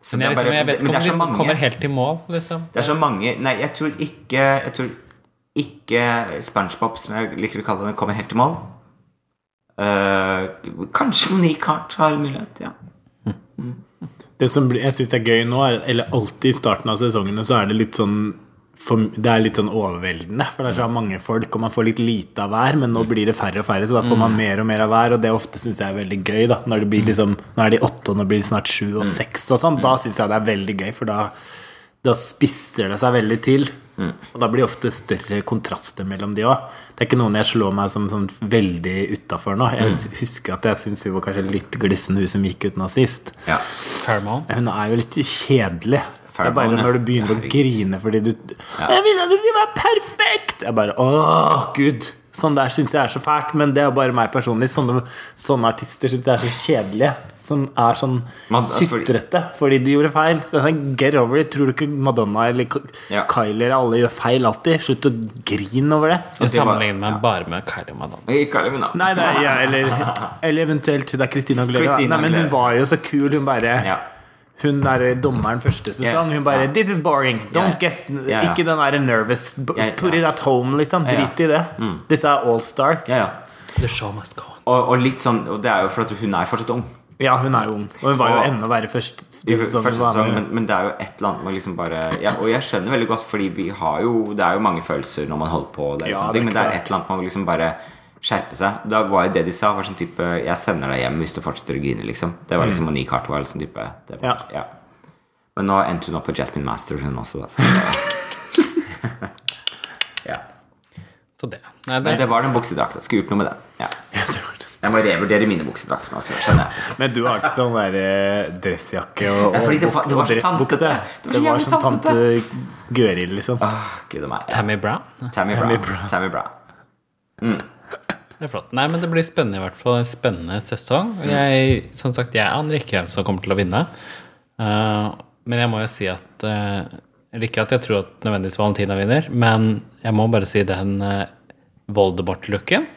[SPEAKER 2] Så
[SPEAKER 1] Men jeg, liksom,
[SPEAKER 2] det er bare-
[SPEAKER 1] jeg vet
[SPEAKER 2] men
[SPEAKER 1] ikke
[SPEAKER 2] det er så
[SPEAKER 1] om de
[SPEAKER 2] mange.
[SPEAKER 1] kommer helt i mål, liksom.
[SPEAKER 2] Det er så mange Nei, jeg tror ikke Jeg tror ikke SpongeBob, som jeg liker å kalle den, kommer helt i mål. Eh, kanskje Monique Hart har mulighet, ja.
[SPEAKER 3] Det som blir- jeg syns er gøy nå, er, eller alltid i starten av sesongene, så er det litt sånn for, det er litt sånn overveldende, for det er så mange folk, og man får litt lite av hver, men nå blir det færre og færre, så da får man mer og mer av hver, og det ofte syns jeg er veldig gøy, da. Når det blir liksom Nå er de åtte, og nå blir det snart sju og seks og sånn. Da syns jeg det er veldig gøy, for da, da spisser det seg veldig til. Og da blir det ofte større kontraster mellom de òg. Det er ikke noen jeg slår meg som sånn veldig utafor nå. Jeg husker at jeg syns hun var kanskje litt glissen, hun som gikk ut nå sist.
[SPEAKER 2] ja.
[SPEAKER 1] Paramount.
[SPEAKER 3] Ja, Hun er jo litt kjedelig. Det er bare
[SPEAKER 2] Fairbawn, ja.
[SPEAKER 3] når du begynner å grine fordi du 'Jeg ville at du skulle være perfekt!' Jeg bare Åh, gud. Sånn der syns jeg er så fælt, men det er bare meg personlig. Sånne, sånne artister syns jeg er så kjedelige. Som er sånn
[SPEAKER 2] Man- altså, for-
[SPEAKER 3] sutrete fordi de gjorde feil. Så jeg sånn, Get over it. Tror du ikke Madonna eller K-
[SPEAKER 2] Ja.
[SPEAKER 3] Kylie eller alle gjør feil alltid? Slutt å grine over det.
[SPEAKER 1] Jeg
[SPEAKER 2] det var-
[SPEAKER 1] sammenligner meg bare med Kylie Madonna.
[SPEAKER 2] Nei, ikke alle, men da.
[SPEAKER 3] Nei, nei, ja, eller, eller eventuelt det er Christina Aguilera.
[SPEAKER 2] Christina
[SPEAKER 3] nei, men hun
[SPEAKER 2] Aguilera.
[SPEAKER 3] var jo så kul. Hun bare
[SPEAKER 2] Ja.
[SPEAKER 3] Hun der dommeren første sesong,
[SPEAKER 2] Ja.
[SPEAKER 3] hun bare 'This is boring. Don't
[SPEAKER 2] Ja.
[SPEAKER 3] get
[SPEAKER 2] Ja, ja.
[SPEAKER 3] Ikke den der nervous. B-
[SPEAKER 2] Ja, ja.
[SPEAKER 3] Put it at home, liksom.
[SPEAKER 2] ja. Mm.
[SPEAKER 3] Drit i det. Dette er all stars.
[SPEAKER 2] Ja, ja.
[SPEAKER 1] The show must go on.
[SPEAKER 2] Og, og litt sånn Og det er jo for at hun er fortsatt ung.
[SPEAKER 3] Ja, hun er jo ung. Og hun var jo
[SPEAKER 2] Og-
[SPEAKER 3] enda verre først.
[SPEAKER 2] I
[SPEAKER 3] sesongen
[SPEAKER 2] første
[SPEAKER 3] var
[SPEAKER 2] sesong,
[SPEAKER 3] med.
[SPEAKER 2] men, men det er jo et eller annet med liksom bare ja, Og jeg skjønner veldig godt, fordi vi har jo Det er jo mange følelser når man holder på, og det er
[SPEAKER 3] Ja,
[SPEAKER 2] sånne
[SPEAKER 3] det er
[SPEAKER 2] ting, men det er
[SPEAKER 3] klart.
[SPEAKER 2] et eller annet man må liksom bare skjerpe seg. Da var jo det de sa, var sånn type 'Jeg sender deg hjem hvis du fortsetter å grine', liksom. Det var liksom Monique Hartwell sånn type. Det var,
[SPEAKER 3] Mm. Ja.
[SPEAKER 2] ja. Men nå endte hun opp på Jasmine Masters, hun også, da. så- ja.
[SPEAKER 1] Så det. Nei, det,
[SPEAKER 2] Men det var den buksedrakta. Skulle gjort noe med det. Ja. Jeg må revurdere mine buksedrakter. Altså, skjønner jeg.
[SPEAKER 3] Men du har ikke sånn der eh, dressjakke og,
[SPEAKER 2] Ja, fordi det
[SPEAKER 3] og
[SPEAKER 2] var-
[SPEAKER 3] buk-
[SPEAKER 2] det var
[SPEAKER 3] og
[SPEAKER 2] så
[SPEAKER 3] dressbukse.
[SPEAKER 2] tantete. Det var så
[SPEAKER 3] Det var
[SPEAKER 2] jævlig
[SPEAKER 3] som tante Gøril, liksom.
[SPEAKER 2] Åh, Ah, Gud a meg.
[SPEAKER 1] Tammy Brown?
[SPEAKER 2] Tammy
[SPEAKER 3] Tammy
[SPEAKER 2] Brown.
[SPEAKER 3] Brown.
[SPEAKER 2] Tammy Brown.
[SPEAKER 1] Det er flott. Nei, men det blir spennende i hvert fall. En Spennende sesong. Og Jeg, som sagt, jeg aner ikke hvem som kommer til å vinne. Eh, men jeg må jo si at eh, Eller ikke at jeg tror at nødvendigvis Valentina vinner, men jeg må bare si den uh, Voldemort-looken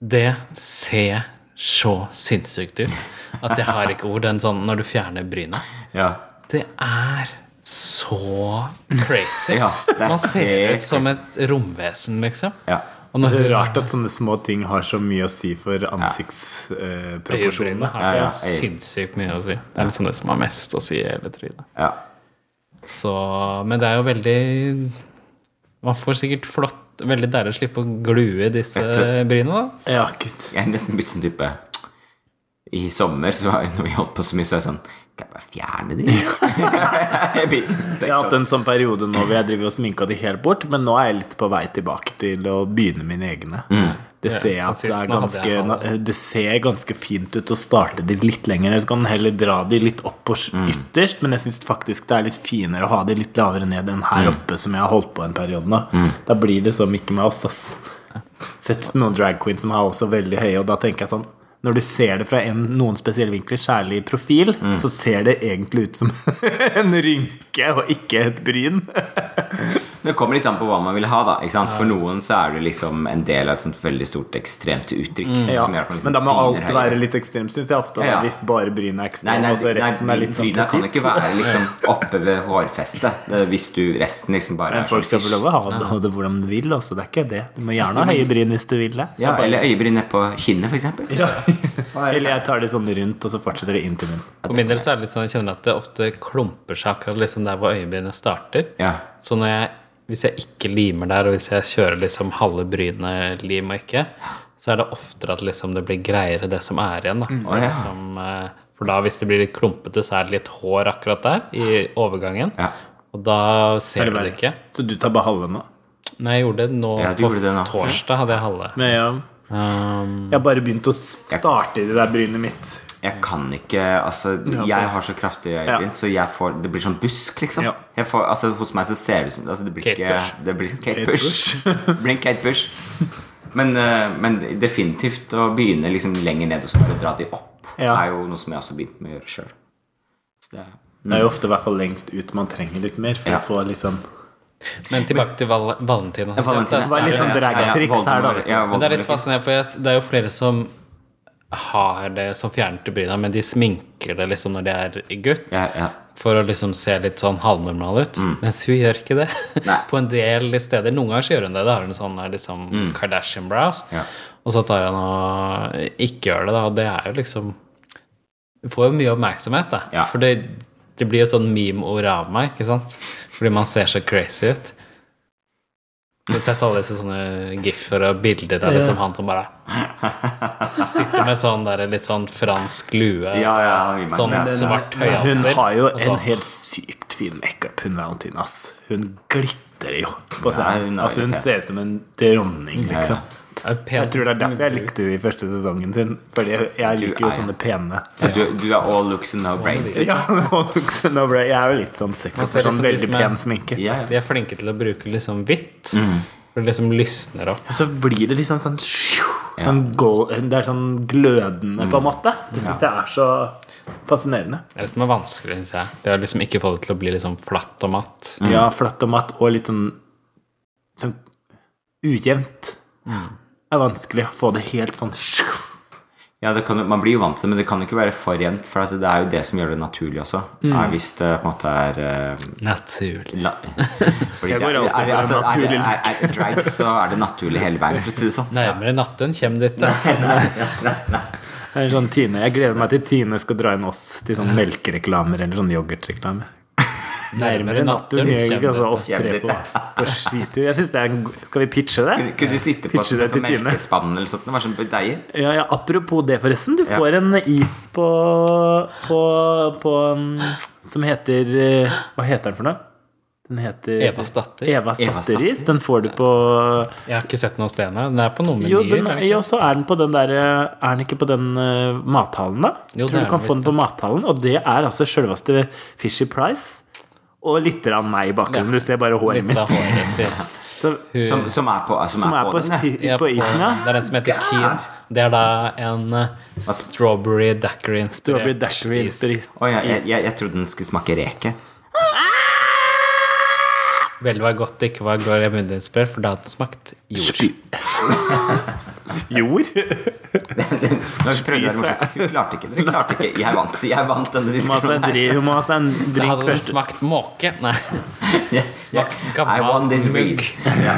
[SPEAKER 1] Det ser så sinnssykt ut at jeg har ikke ord. Den sånn når du fjerner brynet.
[SPEAKER 2] Ja.
[SPEAKER 1] Det er så crazy.
[SPEAKER 2] Ja, det er
[SPEAKER 1] Man ser
[SPEAKER 2] helt
[SPEAKER 1] ut som et romvesen, liksom.
[SPEAKER 2] Ja.
[SPEAKER 1] Og når
[SPEAKER 3] Det
[SPEAKER 1] hun
[SPEAKER 3] er rart at sånne små ting har så mye å si for ansiktsproporsjonene.
[SPEAKER 1] Øyebrynene har
[SPEAKER 2] Ja, ja,
[SPEAKER 1] jo sinnssykt mye å si. Det er liksom det som har mest å si i hele trynet.
[SPEAKER 2] ja.
[SPEAKER 1] Så, men det er jo veldig Man får sikkert flott Veldig deilig å slippe å glue disse
[SPEAKER 2] Vet
[SPEAKER 1] brynene, da.
[SPEAKER 3] ja, gutt.
[SPEAKER 2] Jeg er nesten blitt sånn type I sommer, så var det når vi holdt på så mye, så var jeg sånn Kan jeg bare fjerne de? jeg begynte liksom å
[SPEAKER 3] Jeg
[SPEAKER 2] tenke
[SPEAKER 3] har hatt
[SPEAKER 2] sånn.
[SPEAKER 3] en sånn periode nå hvor jeg driver og sminka de helt bort, men nå er jeg litt på vei tilbake til å begynne mine egne. Det ser, jeg at det, er ganske, na- det ser ganske fint ut å starte de litt lenger ned. Så kan man heller dra de litt opp på s- ytterst, men jeg syns faktisk det er litt finere å ha de litt lavere ned enn her oppe, som jeg har holdt på en periode nå. Da blir det som ikke med oss, ass. Sett noen drag queens som har også veldig høye, og da tenker jeg sånn Når du ser det fra en, noen spesielle vinkler, særlig i profil, så ser det egentlig ut som en rynke og ikke et bryn.
[SPEAKER 2] Det kommer litt an på hva man vil ha, da. Ikke sant? For noen så er du liksom en del av et sånt veldig stort, ekstremt uttrykk.
[SPEAKER 1] Mm.
[SPEAKER 3] Ja,
[SPEAKER 2] som gjør at man liksom
[SPEAKER 3] men da må
[SPEAKER 2] piner
[SPEAKER 3] alt
[SPEAKER 2] høyere.
[SPEAKER 3] være litt ekstremt, syns jeg ofte. da,
[SPEAKER 2] Ja, ja.
[SPEAKER 3] Hvis bare brynet er
[SPEAKER 2] Nei,
[SPEAKER 3] ekstremt,
[SPEAKER 2] nei,
[SPEAKER 3] og så
[SPEAKER 2] nei,
[SPEAKER 3] resten er litt sånn
[SPEAKER 2] bryna kan
[SPEAKER 3] petit.
[SPEAKER 2] ikke være liksom oppe ved hårfestet det- hvis du resten liksom bare er
[SPEAKER 3] Men folk
[SPEAKER 2] sånn
[SPEAKER 3] skal få
[SPEAKER 2] fish.
[SPEAKER 3] lov å ha det, ha det hvordan de vil. Også. Det er ikke det. Du må gjerne ha høye bryn hvis du vil det.
[SPEAKER 2] Ja, eller øyebryn ned på kinnet, for eksempel.
[SPEAKER 3] Eller jeg tar de sånn rundt, og så fortsetter det inn til munnen.
[SPEAKER 1] For min del så er det litt sånn, jeg kjenner at det ofte klumper seg akkurat liksom der hvor øyebrynet starter.
[SPEAKER 2] Ja.
[SPEAKER 1] Så når jeg, hvis jeg ikke limer der, og hvis jeg kjører liksom halve brynet lim og ikke, så er det oftere at liksom det blir greiere det som er igjen. Da. For,
[SPEAKER 2] Mm. Å, ja.
[SPEAKER 1] liksom, eh, for da hvis det blir litt klumpete, så er det litt hår akkurat der i overgangen.
[SPEAKER 2] Ja.
[SPEAKER 1] Og da ser du det ikke.
[SPEAKER 3] Så du tar bare halve nå?
[SPEAKER 1] Nei, jeg gjorde det nå
[SPEAKER 2] Ja, du
[SPEAKER 1] på
[SPEAKER 2] gjorde det nå.
[SPEAKER 1] torsdag, hadde jeg halve.
[SPEAKER 3] Men ja,
[SPEAKER 1] Um,
[SPEAKER 3] jeg har bare begynt å s- starte i det der brynet mitt.
[SPEAKER 2] Jeg kan ikke Altså, jeg har så kraftige øyebryn,
[SPEAKER 3] Ja.
[SPEAKER 2] så jeg får Det blir sånn busk, liksom.
[SPEAKER 3] Ja.
[SPEAKER 2] Jeg får, altså, hos meg så ser det ut som altså, det blir
[SPEAKER 1] Kate
[SPEAKER 2] ikke,
[SPEAKER 1] Bush.
[SPEAKER 2] Det blir som Kate
[SPEAKER 3] Kate
[SPEAKER 2] Bush. Det blir en Kate Bush. Men, eh, men definitivt å begynne liksom lenger ned og så bare dra de opp,
[SPEAKER 3] Ja.
[SPEAKER 2] er jo noe som jeg også begynte med å gjøre sjøl. Så det er
[SPEAKER 3] Det er jo ofte i hvert fall lengst ut man trenger litt mer. For
[SPEAKER 2] Ja.
[SPEAKER 3] å få liksom
[SPEAKER 1] men tilbake til val Valentina.
[SPEAKER 2] Ja, Valentina.
[SPEAKER 1] Det er-
[SPEAKER 3] var litt sånn drag-triks her, da,
[SPEAKER 2] Voldemort.
[SPEAKER 3] vet du.
[SPEAKER 2] Ja,
[SPEAKER 1] Men det er litt
[SPEAKER 2] Voldemort.
[SPEAKER 1] fascinerende, for jeg, det er jo flere som har det som fjerner til bryna, men de sminker det liksom når de er gutt,
[SPEAKER 2] Ja, ja.
[SPEAKER 1] for å liksom se litt sånn halvnormal ut. Mens hun gjør ikke det.
[SPEAKER 2] Mm. Nei.
[SPEAKER 1] På en del steder. Noen ganger så gjør hun det. Da har hun sånn der liksom Kardashian-brows.
[SPEAKER 2] Mm. Ja.
[SPEAKER 1] Og så tar hun og ikke gjør det, da. Og det er jo liksom Du får jo mye oppmerksomhet, da.
[SPEAKER 2] Ja.
[SPEAKER 1] For det, det blir jo sånn meme-ord av meg, ikke sant? Fordi man ser så crazy ut. Du har sett alle disse sånne giffer og bilder av liksom han som bare Sitter med sånn der, litt sånn fransk lue,
[SPEAKER 2] Ja, ja, han gir meg
[SPEAKER 1] sånn
[SPEAKER 2] den.
[SPEAKER 1] svart
[SPEAKER 3] Men
[SPEAKER 1] høyhalser.
[SPEAKER 3] Hun har jo
[SPEAKER 1] og
[SPEAKER 3] en
[SPEAKER 1] sånn.
[SPEAKER 3] helt sykt fin makeup, hun Valentina. ass. Hun glitrer jo på
[SPEAKER 2] Nei,
[SPEAKER 3] scenen.
[SPEAKER 2] hun er
[SPEAKER 3] altså, hun
[SPEAKER 2] ikke.
[SPEAKER 3] ser ut som en dronning, liksom.
[SPEAKER 1] Det er pen-
[SPEAKER 3] Jeg tror det er derfor jeg
[SPEAKER 1] Mm.
[SPEAKER 3] likte henne i første sesongen sin. Fordi jeg liker jo
[SPEAKER 2] er-
[SPEAKER 3] sånne pene.
[SPEAKER 2] Du, du er all looks and no brains.
[SPEAKER 3] Ja, nå ble jeg er jo litt sånn
[SPEAKER 1] Man
[SPEAKER 3] sexy
[SPEAKER 1] ser
[SPEAKER 3] for sånn
[SPEAKER 1] liksom de
[SPEAKER 3] veldig
[SPEAKER 1] som er-
[SPEAKER 3] pen sminke.
[SPEAKER 2] Ja,
[SPEAKER 1] De er flinke til å bruke liksom hvitt.
[SPEAKER 2] Mm.
[SPEAKER 1] For det liksom lysner opp.
[SPEAKER 3] Og så blir det liksom sånn sju, sånn gold, Det er sånn glødende,
[SPEAKER 2] Mm.
[SPEAKER 3] på en måte. Det syns jeg er så fascinerende.
[SPEAKER 1] Det er liksom vanskelig, syns jeg. Det er liksom ikke få det til å bli liksom flatt og matt.
[SPEAKER 3] Ja, flatt og matt og litt sånn, sånn ujevnt. Det er vanskelig å få det helt sånn sju.
[SPEAKER 2] Ja, det kan, jo- man blir jo vant til det, men det kan jo ikke være for jevnt. For altså, det er jo det som gjør det naturlig også.
[SPEAKER 3] Mm.
[SPEAKER 2] Er hvis det på en måte er eh,
[SPEAKER 1] Naturlig.
[SPEAKER 2] la, fordi
[SPEAKER 3] Jeg går
[SPEAKER 2] det er-
[SPEAKER 3] alltid for
[SPEAKER 2] er-
[SPEAKER 3] en
[SPEAKER 2] altså, er-
[SPEAKER 3] naturlig
[SPEAKER 2] er- er- er Drag, så er det naturlig hele veien, for å si det sånn.
[SPEAKER 1] Nærmere nattun kjem dit. da.
[SPEAKER 3] Det er sånn Tine, Jeg gleder meg til Tine skal dra inn oss til sånn melkereklamer eller sånn yoghurtreklame. Nærmere natten. Jeg, altså, oss tre på, på skitur. Jeg synes det er en go- Skal vi pitche det?
[SPEAKER 2] Kunne, kunne de sitte på
[SPEAKER 3] Pitche det
[SPEAKER 2] som
[SPEAKER 3] til Tine.
[SPEAKER 2] melkespann eller sånt? Det var sånn deilig.
[SPEAKER 3] Ja, ja, Apropos det, forresten. Du får en is på, på, på um, Som heter eh, Hva heter den for noe? Den heter
[SPEAKER 1] Evas datter.
[SPEAKER 3] Evas
[SPEAKER 2] Evas
[SPEAKER 3] datteris.
[SPEAKER 2] datter.
[SPEAKER 3] Den får du på
[SPEAKER 1] Jeg har ikke sett noe sted ennå. Den er på noen
[SPEAKER 3] Jo,
[SPEAKER 1] menyer.
[SPEAKER 3] den er,
[SPEAKER 1] eller?
[SPEAKER 3] ja, så er den på den der eh, Er den ikke på den eh, mathallen, da?
[SPEAKER 1] Jo, det er
[SPEAKER 3] Tror du kan
[SPEAKER 1] den
[SPEAKER 3] få den
[SPEAKER 1] visst,
[SPEAKER 3] på mathallen, og det er altså sjølveste Fishy Price. Og litt av meg i
[SPEAKER 1] Ja.
[SPEAKER 3] bakgrunnen. Du ser bare håret
[SPEAKER 1] Litt
[SPEAKER 3] mitt.
[SPEAKER 1] av håret til
[SPEAKER 3] Så,
[SPEAKER 2] Som, som er på, eh, som
[SPEAKER 3] som er på,
[SPEAKER 2] den, ja.
[SPEAKER 3] sti-
[SPEAKER 1] Ja,
[SPEAKER 3] på isen, ja.
[SPEAKER 1] Det er den som heter
[SPEAKER 2] God.
[SPEAKER 1] Kid. Det er da en eh, strawberry daiquiri-inspirert
[SPEAKER 3] Strawberry Dashery
[SPEAKER 1] is.
[SPEAKER 3] Inspiris.
[SPEAKER 2] Å ja, jeg, jeg, jeg trodde den skulle smake reke.
[SPEAKER 1] Vel var godt det ikke var Gloria Mundi-inspirert, for da hadde den smakt jord.
[SPEAKER 3] Spy. Jord?
[SPEAKER 2] Nå prøvde jeg å være morsom. Hun klarte ikke. Dere klarte ikke. Jeg vant. Jeg vant denne
[SPEAKER 3] Hun må ha seg en
[SPEAKER 2] diskusjonen.
[SPEAKER 3] dri- Hun må ha seg en
[SPEAKER 1] Da
[SPEAKER 3] drink
[SPEAKER 1] hadde den
[SPEAKER 3] først.
[SPEAKER 1] smakt måke. Nei.
[SPEAKER 2] Yes. I
[SPEAKER 1] gammel
[SPEAKER 2] won this
[SPEAKER 1] mugg.
[SPEAKER 2] week. Ja.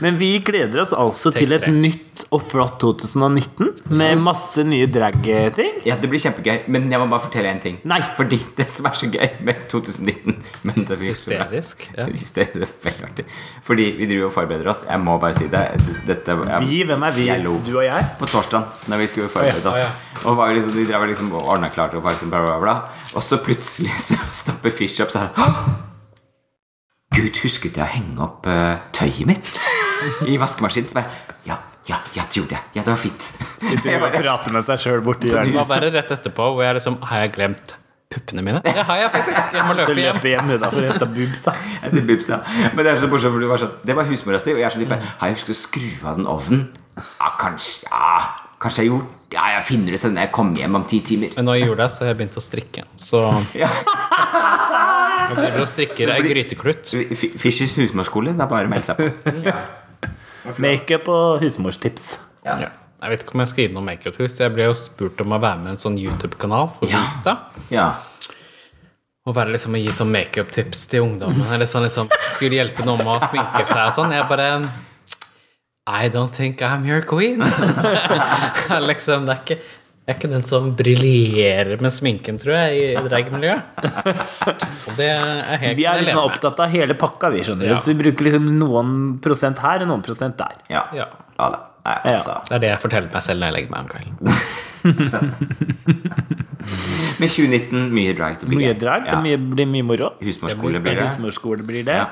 [SPEAKER 3] Men vi gleder oss altså
[SPEAKER 1] Take
[SPEAKER 3] til et
[SPEAKER 1] tre.
[SPEAKER 3] nytt og flott 2019 med masse nye drag-ting.
[SPEAKER 2] Ja, det blir kjempegøy, men jeg må bare fortelle en ting.
[SPEAKER 3] Nei.
[SPEAKER 2] Fordi det som er så gøy med 2019 men det blir så bra.
[SPEAKER 1] Hysterisk, ja.
[SPEAKER 2] Hysterisk, det er veldig artig. Fordi vi driver og forbereder oss. Jeg må bare si det. Jeg synes dette, jeg,
[SPEAKER 3] Vi, hvem er vi?
[SPEAKER 2] Jeg lo.
[SPEAKER 3] Du og jeg?
[SPEAKER 2] på torsdag, når vi skulle forberede oss.
[SPEAKER 1] Å, ja.
[SPEAKER 2] Og var jo liksom, de drev og liksom og ordna klart og var liksom bla, bla, bla. Og så plutselig så stopper Fish opp sånn «Hå! Gud, husket jeg å henge opp eh, tøyet mitt i vaskemaskinen? Så bare Ja, ja, ja, det gjorde jeg. Ja, det var fint.
[SPEAKER 3] Sitter
[SPEAKER 2] Jeg
[SPEAKER 3] og
[SPEAKER 2] bare-
[SPEAKER 3] prater med seg sjøl borti
[SPEAKER 2] Så
[SPEAKER 1] Det
[SPEAKER 3] hjørnet.
[SPEAKER 1] var bare rett etterpå hvor jeg liksom Har jeg glemt puppene mine? Det har jeg faktisk. Jeg må
[SPEAKER 3] Du
[SPEAKER 1] løpe hjem.
[SPEAKER 3] løper hjem da, for å hente boobs, da.
[SPEAKER 2] Etter bibs, ja. Men det er så morsomt, for du var sånn Det var husmora si, og jeg er så type Har jeg husket å skru av den ovnen? Ja, kanskje ja, Kanskje jeg gjorde Ja, jeg finner ut det når jeg kommer hjem om ti timer.
[SPEAKER 1] Men nå i jula så har jeg begynt å strikke. Så
[SPEAKER 2] Ja.
[SPEAKER 1] jeg driver og strikker ei gryteklut.
[SPEAKER 2] F- Fischers husmorskole, det er bare å melde seg på.
[SPEAKER 3] Makeup og husmorstips.
[SPEAKER 2] Ja.
[SPEAKER 1] Ja. Jeg vet ikke om jeg skal gi noe makeup hvis Jeg ble jo spurt om å være med i en sånn YouTube-kanal for
[SPEAKER 2] Ja.
[SPEAKER 1] gutta.
[SPEAKER 2] ja.
[SPEAKER 1] Å være liksom å gi sånn makeup-tips til ungdommen, eller sånn liksom Skulle hjelpe noen med å sminke seg og sånn. Jeg bare I don't think I'm your queen. Det er liksom, det er ikke jeg er ikke den som briljerer med sminken, tror jeg, i dragmiljøet. Og det er helt
[SPEAKER 3] Vi
[SPEAKER 1] jeg
[SPEAKER 3] er liksom
[SPEAKER 1] lever med.
[SPEAKER 3] opptatt av hele pakka, vi skjønner
[SPEAKER 1] Ja.
[SPEAKER 3] Så vi bruker liksom noen prosent her og noen prosent der.
[SPEAKER 2] Ja.
[SPEAKER 1] Ja.
[SPEAKER 2] Ja da. Nei,
[SPEAKER 3] Ja.
[SPEAKER 2] altså.
[SPEAKER 1] Det er det jeg forteller meg selv når jeg legger meg om kvelden.
[SPEAKER 2] Men 2019, mye drag. Det blir
[SPEAKER 3] Mye
[SPEAKER 2] gøy.
[SPEAKER 3] drag, det
[SPEAKER 2] Ja.
[SPEAKER 3] mye, blir mye moro.
[SPEAKER 2] Husmorskole blir det.
[SPEAKER 3] Husmorskole blir det.
[SPEAKER 2] Ja.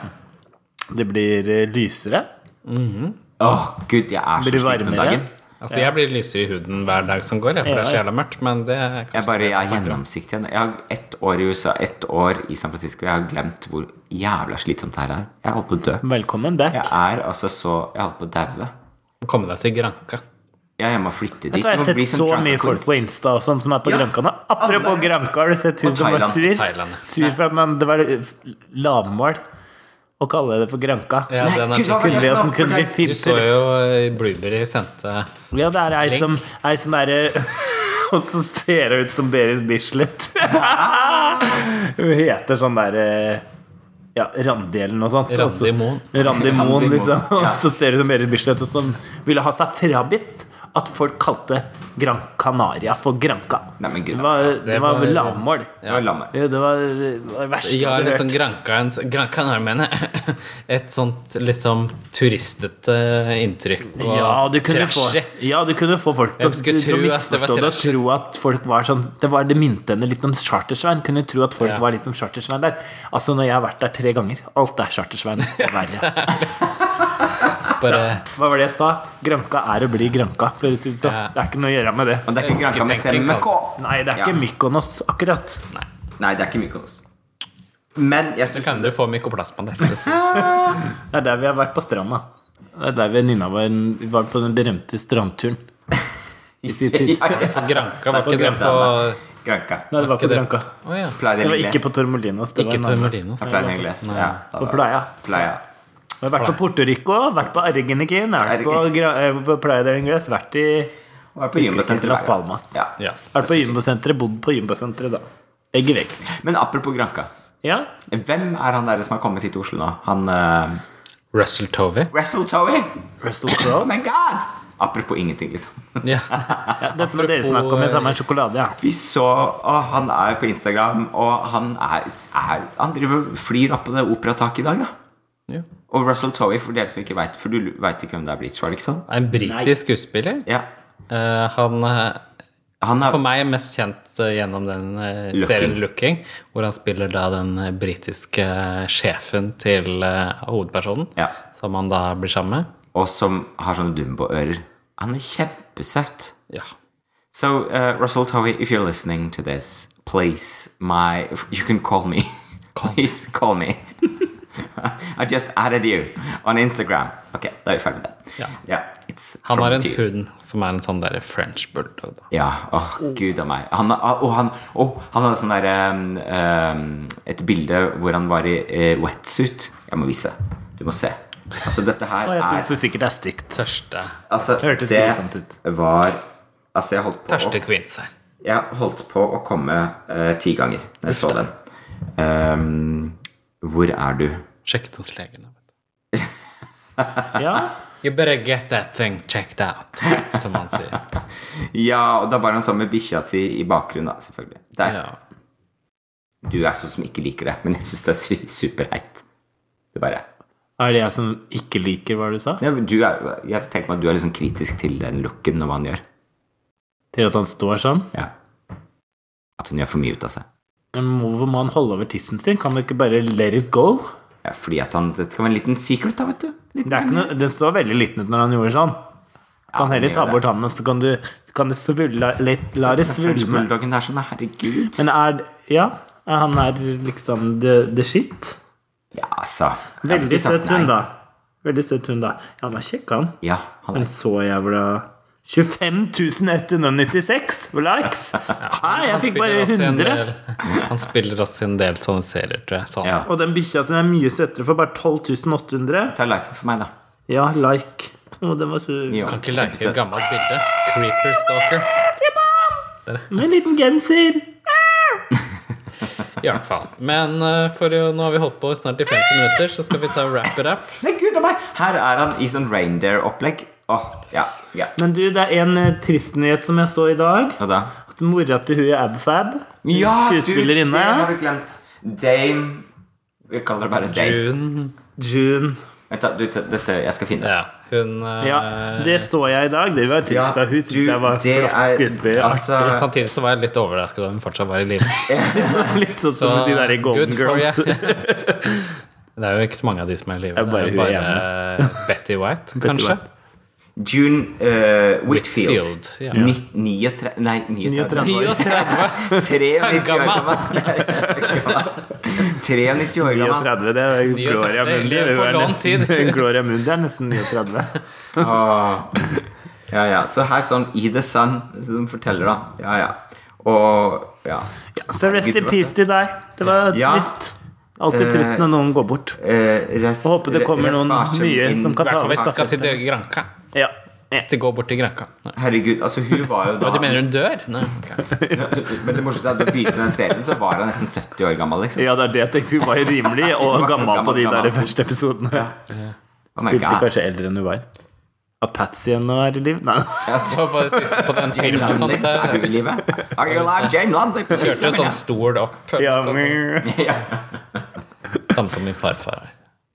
[SPEAKER 3] Det blir eh, lysere.
[SPEAKER 2] Åh, gud, jeg er så
[SPEAKER 3] Blir det
[SPEAKER 2] sliten om
[SPEAKER 3] varmere?
[SPEAKER 2] dagen.
[SPEAKER 1] Altså, jeg blir lysere i huden hver dag som går, jeg, for det er så jævla mørkt, men det er
[SPEAKER 2] Jeg bare jeg er gjennomsiktig. Jeg har ett år i USA, ett år i San Francisco. Jeg har glemt hvor jævla slitsomt det her er. Jeg holdt på å dø.
[SPEAKER 3] Velkommen back.
[SPEAKER 2] Jeg er altså så Jeg holdt på å daue.
[SPEAKER 1] å komme deg til Granca.
[SPEAKER 2] Ja, jeg må flytte dit.
[SPEAKER 3] Vet du, hva, jeg
[SPEAKER 2] og
[SPEAKER 3] har sett
[SPEAKER 2] bli sånn som
[SPEAKER 3] så
[SPEAKER 2] drag
[SPEAKER 3] mye folk
[SPEAKER 2] queens.
[SPEAKER 3] på Insta og sånn som er på
[SPEAKER 2] Ja.
[SPEAKER 3] Granka nå. Apropos
[SPEAKER 2] Alle er-
[SPEAKER 3] Granka, har du sett hun
[SPEAKER 2] Og
[SPEAKER 3] som var
[SPEAKER 2] Thailand.
[SPEAKER 3] sur?
[SPEAKER 1] Thailand, ja.
[SPEAKER 3] Sur for at man, det var lavmål å kalle det for Granka.
[SPEAKER 1] Ja,
[SPEAKER 2] Nei,
[SPEAKER 1] den
[SPEAKER 2] gud,
[SPEAKER 1] er
[SPEAKER 2] hva var
[SPEAKER 3] Kunne
[SPEAKER 2] det
[SPEAKER 3] vi
[SPEAKER 2] for
[SPEAKER 3] også
[SPEAKER 2] noe?
[SPEAKER 3] kunne vi
[SPEAKER 2] Fortell.
[SPEAKER 1] Du så
[SPEAKER 3] filter
[SPEAKER 1] jo eh, Blueberry sendte
[SPEAKER 3] Ja, det er ei som, ei som derre Og så ser hun ut som Berit Bislett. hun heter sånn derre ja, Randi eller noe sånt.
[SPEAKER 1] Randi
[SPEAKER 3] og så-
[SPEAKER 1] Moen.
[SPEAKER 2] Randi
[SPEAKER 3] Randi Moen, liksom.
[SPEAKER 2] Moen, ja.
[SPEAKER 3] Og så ser hun ut som Berit Bislett, og som ville ha seg frabitt at folk kalte Gran Canaria for Granca.
[SPEAKER 2] Nei, men gud,
[SPEAKER 3] det var, det var,
[SPEAKER 1] var-
[SPEAKER 3] lavmål.
[SPEAKER 2] Det var lammet.
[SPEAKER 3] Det var det var det verste
[SPEAKER 1] Ja,
[SPEAKER 3] jeg har
[SPEAKER 1] liksom
[SPEAKER 3] hørt.
[SPEAKER 1] Granca en, Granca er, mener jeg, Et sånt liksom turistete inntrykk. Og
[SPEAKER 3] Ja, du kunne få,
[SPEAKER 1] trashy.
[SPEAKER 3] ja, du kunne få folk til
[SPEAKER 1] Jeg skulle
[SPEAKER 3] å- til å
[SPEAKER 1] tro at det var
[SPEAKER 3] misforstå det og
[SPEAKER 1] trashy.
[SPEAKER 3] tro at folk var sånn Det, var, det minte henne litt om Chartersvein. Kunne tro at folk
[SPEAKER 1] Ja.
[SPEAKER 3] var litt om Chartersvein der. Altså, når jeg har vært der tre ganger, alt er Chartersvein og verre.
[SPEAKER 1] Bare
[SPEAKER 3] Hva var det jeg sa? Granka er å bli granka, for å si det sånn.
[SPEAKER 1] Ja.
[SPEAKER 3] Det er ikke noe å gjøre med det.
[SPEAKER 2] Og det er ikke Granka med selv med K.
[SPEAKER 3] Nei, det er
[SPEAKER 2] Ja.
[SPEAKER 3] ikke Mykonos, akkurat.
[SPEAKER 2] Nei, det er ikke Mykonos. Men jeg syns
[SPEAKER 1] kan du få mykoplasma der. liksom.
[SPEAKER 3] Det er der vi har vært på stranda. Det er der vi Nina var, vi var på den berømte strandturen. I sin tid.
[SPEAKER 2] Ja, ja.
[SPEAKER 1] Granca var
[SPEAKER 3] Det er på
[SPEAKER 1] ikke det på
[SPEAKER 2] Granka.
[SPEAKER 3] Nei, det var
[SPEAKER 1] ikke
[SPEAKER 3] på
[SPEAKER 1] det-
[SPEAKER 3] Granka.
[SPEAKER 1] Å ja.
[SPEAKER 2] Playa
[SPEAKER 3] Det
[SPEAKER 2] del
[SPEAKER 3] var ikke
[SPEAKER 2] Ingles.
[SPEAKER 3] på Tormolinos. Det
[SPEAKER 1] Ikke
[SPEAKER 3] var en annen.
[SPEAKER 1] Tormelinos.
[SPEAKER 2] Ja, Playa del Ingles. Ja, da-
[SPEAKER 3] På Playa.
[SPEAKER 2] Playa.
[SPEAKER 3] Jeg har vært på Porto Rico, vært på Argenikin, vært på, Gra- eh, på Playa del Ingles, vært i
[SPEAKER 2] Var på Jumbosenteret.
[SPEAKER 3] Las
[SPEAKER 2] ja.
[SPEAKER 3] Palmas.
[SPEAKER 2] Ja.
[SPEAKER 1] Ja.
[SPEAKER 3] Vært på Jumbosenteret, bodd på Jumbosenteret, da. Egg i vegg.
[SPEAKER 2] Men apropos Granka.
[SPEAKER 3] Ja.
[SPEAKER 2] Hvem er han der som har kommet hit til Oslo nå? Han uh,
[SPEAKER 1] Russell Tovey.
[SPEAKER 2] Russell Towie!
[SPEAKER 3] Russell
[SPEAKER 2] Oh
[SPEAKER 3] Crowe.
[SPEAKER 2] my god! Apropos ingenting, liksom.
[SPEAKER 1] Ja.
[SPEAKER 3] Ja, dette må dere snakke om. Jeg tar meg en sjokolade, ja.
[SPEAKER 2] Vi så og Han er på Instagram, og han er, er Han driver flyr opp på det operataket i dag, da.
[SPEAKER 1] Jo.
[SPEAKER 2] Og Russell Towie, for dere som ikke veit For du veit ikke hvem det er blitt, var det ikke sånn?
[SPEAKER 1] En britisk skuespiller.
[SPEAKER 2] Ja.
[SPEAKER 1] Eh, han eh,
[SPEAKER 2] Han er
[SPEAKER 1] for meg mest kjent eh, gjennom den eh,
[SPEAKER 2] Looking.
[SPEAKER 1] serien Looking, hvor han spiller da den eh, britiske sjefen til eh, hovedpersonen,
[SPEAKER 2] Ja.
[SPEAKER 1] som han da blir sammen med.
[SPEAKER 2] Og som har sånne Dumbo-ører. Han er kjempesøt.
[SPEAKER 1] Ja.
[SPEAKER 2] So, uh, Russell Tovey, if you're listening to this, please, my, you can call me. please call me. I just added you on Instagram. Ok, da er vi ferdig med det.
[SPEAKER 1] Ja.
[SPEAKER 2] it's
[SPEAKER 1] Han
[SPEAKER 2] from
[SPEAKER 1] har en
[SPEAKER 2] to you.
[SPEAKER 1] hund som er en sånn der french bulldog. Da.
[SPEAKER 2] Ja, åh, gud av meg. Han, ah, og han, åh, han hadde sånn der um, um, Et bilde hvor han var i eh, wetsuit. Jeg må vise. Du må se. Altså, dette her
[SPEAKER 3] Og jeg
[SPEAKER 2] er
[SPEAKER 3] syns det sikkert er stygt.
[SPEAKER 1] Tørste,
[SPEAKER 2] altså,
[SPEAKER 3] Det hørtes grusomt ut.
[SPEAKER 2] var Altså, jeg holdt på å
[SPEAKER 1] tørste kvinns her.
[SPEAKER 2] Jeg holdt på å komme eh, ti ganger da jeg så den. Ehm, hvor er du?
[SPEAKER 1] Sjekket hos legen.
[SPEAKER 3] Ja.
[SPEAKER 1] You better get that thing checked out, som han sier.
[SPEAKER 2] Ja, og da var han sammen med bikkja si i bakgrunnen, da, selvfølgelig. Der.
[SPEAKER 1] Ja.
[SPEAKER 2] Du er sånn som ikke liker det, men jeg syns det er su- superheit. Du bare
[SPEAKER 3] Er det jeg som ikke liker hva du sa?
[SPEAKER 2] ja, men du er, Jeg tenker meg at du er litt sånn kritisk til den looken og hva han gjør.
[SPEAKER 3] Til at han står sånn?
[SPEAKER 2] Ja. At hun gjør for mye ut av seg.
[SPEAKER 3] Men Hvorfor må han holde over tissen sin? Kan du ikke bare let it go?
[SPEAKER 2] Ja, fordi at han Det skal være en liten secret, da, vet du.
[SPEAKER 3] Det, er ikke noe, det så veldig liten ut når han gjorde sånn.
[SPEAKER 2] Ja,
[SPEAKER 3] Kan heller
[SPEAKER 2] den
[SPEAKER 3] ta
[SPEAKER 2] gjør
[SPEAKER 3] bort han, men så kan du, kan du svulme litt. La det
[SPEAKER 2] French
[SPEAKER 3] svulme.
[SPEAKER 2] bulldogen der sånn, herregud.
[SPEAKER 3] Men er Ja, han er liksom the, the shit.
[SPEAKER 2] ja, altså. jeg har
[SPEAKER 3] Veldig
[SPEAKER 2] ikke sagt
[SPEAKER 3] søt hund,
[SPEAKER 2] nei.
[SPEAKER 3] da. Veldig søt hund, da. Ja, han er kjekk, han.
[SPEAKER 2] Ja, han
[SPEAKER 3] Men
[SPEAKER 2] er
[SPEAKER 3] så jævla 25.196 likes! Hei, jeg fikk bare
[SPEAKER 1] også i en
[SPEAKER 3] 100!
[SPEAKER 1] del, han spiller også i en del sånne serier, tror jeg. Sånn.
[SPEAKER 2] Ja.
[SPEAKER 3] Og den bikkja sin er mye søtere for bare 12.800.
[SPEAKER 2] Ta liken for meg, da.
[SPEAKER 3] Ja, like. Å, den var så
[SPEAKER 2] Jo,
[SPEAKER 1] Kan ikke like et
[SPEAKER 2] kjempesøt.
[SPEAKER 1] gammelt bilde. Creeper stalker.
[SPEAKER 3] Med en liten genser!
[SPEAKER 1] I hvert fall. Men eh, for å, nå har vi holdt på snart i 50 minutter, så skal vi ta wrap it up.
[SPEAKER 2] Nei, gud a meg! Her er han i sånn reindeer-opplegg. Åh, ja, ja.
[SPEAKER 3] Men du, det er en eh, trist nyhet som jeg så i dag.
[SPEAKER 2] Og da?
[SPEAKER 3] At mora til hun Abfab,
[SPEAKER 2] Ja, du, det
[SPEAKER 3] skuespillerinne,
[SPEAKER 2] har du glemt. Dame Vi kaller det bare Dame.
[SPEAKER 1] June.
[SPEAKER 3] June
[SPEAKER 2] Vent, da. Du, t- dette, jeg skal finne det.
[SPEAKER 1] Ja, hun eh,
[SPEAKER 3] Ja, det så jeg i dag. Det var trist.
[SPEAKER 2] Ja,
[SPEAKER 3] da. Hun syntes
[SPEAKER 2] du,
[SPEAKER 3] jeg var
[SPEAKER 2] det
[SPEAKER 3] flott
[SPEAKER 2] er-
[SPEAKER 3] skuespiller.
[SPEAKER 2] altså-
[SPEAKER 1] Samtidig så var jeg litt overrasket da hun fortsatt var i live.
[SPEAKER 3] Litt sånn
[SPEAKER 1] Så,
[SPEAKER 3] som de der i
[SPEAKER 1] Ah, good
[SPEAKER 3] Golden
[SPEAKER 1] for
[SPEAKER 3] Girls.
[SPEAKER 1] you. Det er jo ikke så mange av de som er i live.
[SPEAKER 3] er bare
[SPEAKER 1] Det er
[SPEAKER 3] hun
[SPEAKER 1] bare Betty White, kanskje.
[SPEAKER 3] White.
[SPEAKER 2] June eh, Whitfield.
[SPEAKER 1] Whitfield, ja.
[SPEAKER 2] Nitt- 39 Nei, 39 år.
[SPEAKER 1] 39!
[SPEAKER 2] 93 år gammel. 93 år gammel.
[SPEAKER 3] 39, det er jo Gloria
[SPEAKER 1] 39,
[SPEAKER 3] Mundi. Hun
[SPEAKER 1] på
[SPEAKER 3] er
[SPEAKER 1] lånt tid.
[SPEAKER 3] nesten, Gloria Mundi er nesten 39.
[SPEAKER 2] Åh. Ja, ja. Så her sånn I The Sun, som forteller, da. Ja, ja. Og ja.
[SPEAKER 3] Så rest
[SPEAKER 2] Herregud,
[SPEAKER 3] in
[SPEAKER 2] hva
[SPEAKER 3] peace
[SPEAKER 2] søtt.
[SPEAKER 3] til deg. Det var
[SPEAKER 2] Ja.
[SPEAKER 3] trist. Alltid trist når noen går bort.
[SPEAKER 2] Eh, res,
[SPEAKER 3] Håper det kommer noen
[SPEAKER 2] respasje
[SPEAKER 3] nye
[SPEAKER 2] inn-
[SPEAKER 3] som kan
[SPEAKER 1] I hvert fall hvis de skal til
[SPEAKER 3] Stafetten.
[SPEAKER 1] Granca.
[SPEAKER 3] Ja.
[SPEAKER 1] Hvis de går bort til Granca. Nei.
[SPEAKER 2] Herregud, altså hun var jo da
[SPEAKER 3] Ah.
[SPEAKER 1] Du mener hun dør? Nei. ok.
[SPEAKER 2] Men det morsomste er at da begynte den serien, så var hun nesten 70 år gammel. liksom
[SPEAKER 3] ja, det er det jeg tenkte. Hun var jo rimelig og
[SPEAKER 2] Gammel,
[SPEAKER 3] gammel på de
[SPEAKER 2] gammel,
[SPEAKER 3] der
[SPEAKER 2] gammel.
[SPEAKER 3] første episodene.
[SPEAKER 2] oh my
[SPEAKER 3] Spilte
[SPEAKER 2] God.
[SPEAKER 3] kanskje eldre enn hun var. At Patsy ennå er i liv? Nei.
[SPEAKER 1] Så på det siste på den
[SPEAKER 2] Jane
[SPEAKER 1] filmen og
[SPEAKER 2] Lundy,
[SPEAKER 1] sånt, der
[SPEAKER 2] er du i live? Are you alive, Jane Lundy?
[SPEAKER 1] sånn kjørte jo sånn stol opp.
[SPEAKER 3] Ja,
[SPEAKER 1] sånn,
[SPEAKER 2] Ja.
[SPEAKER 1] Samme som min farfar.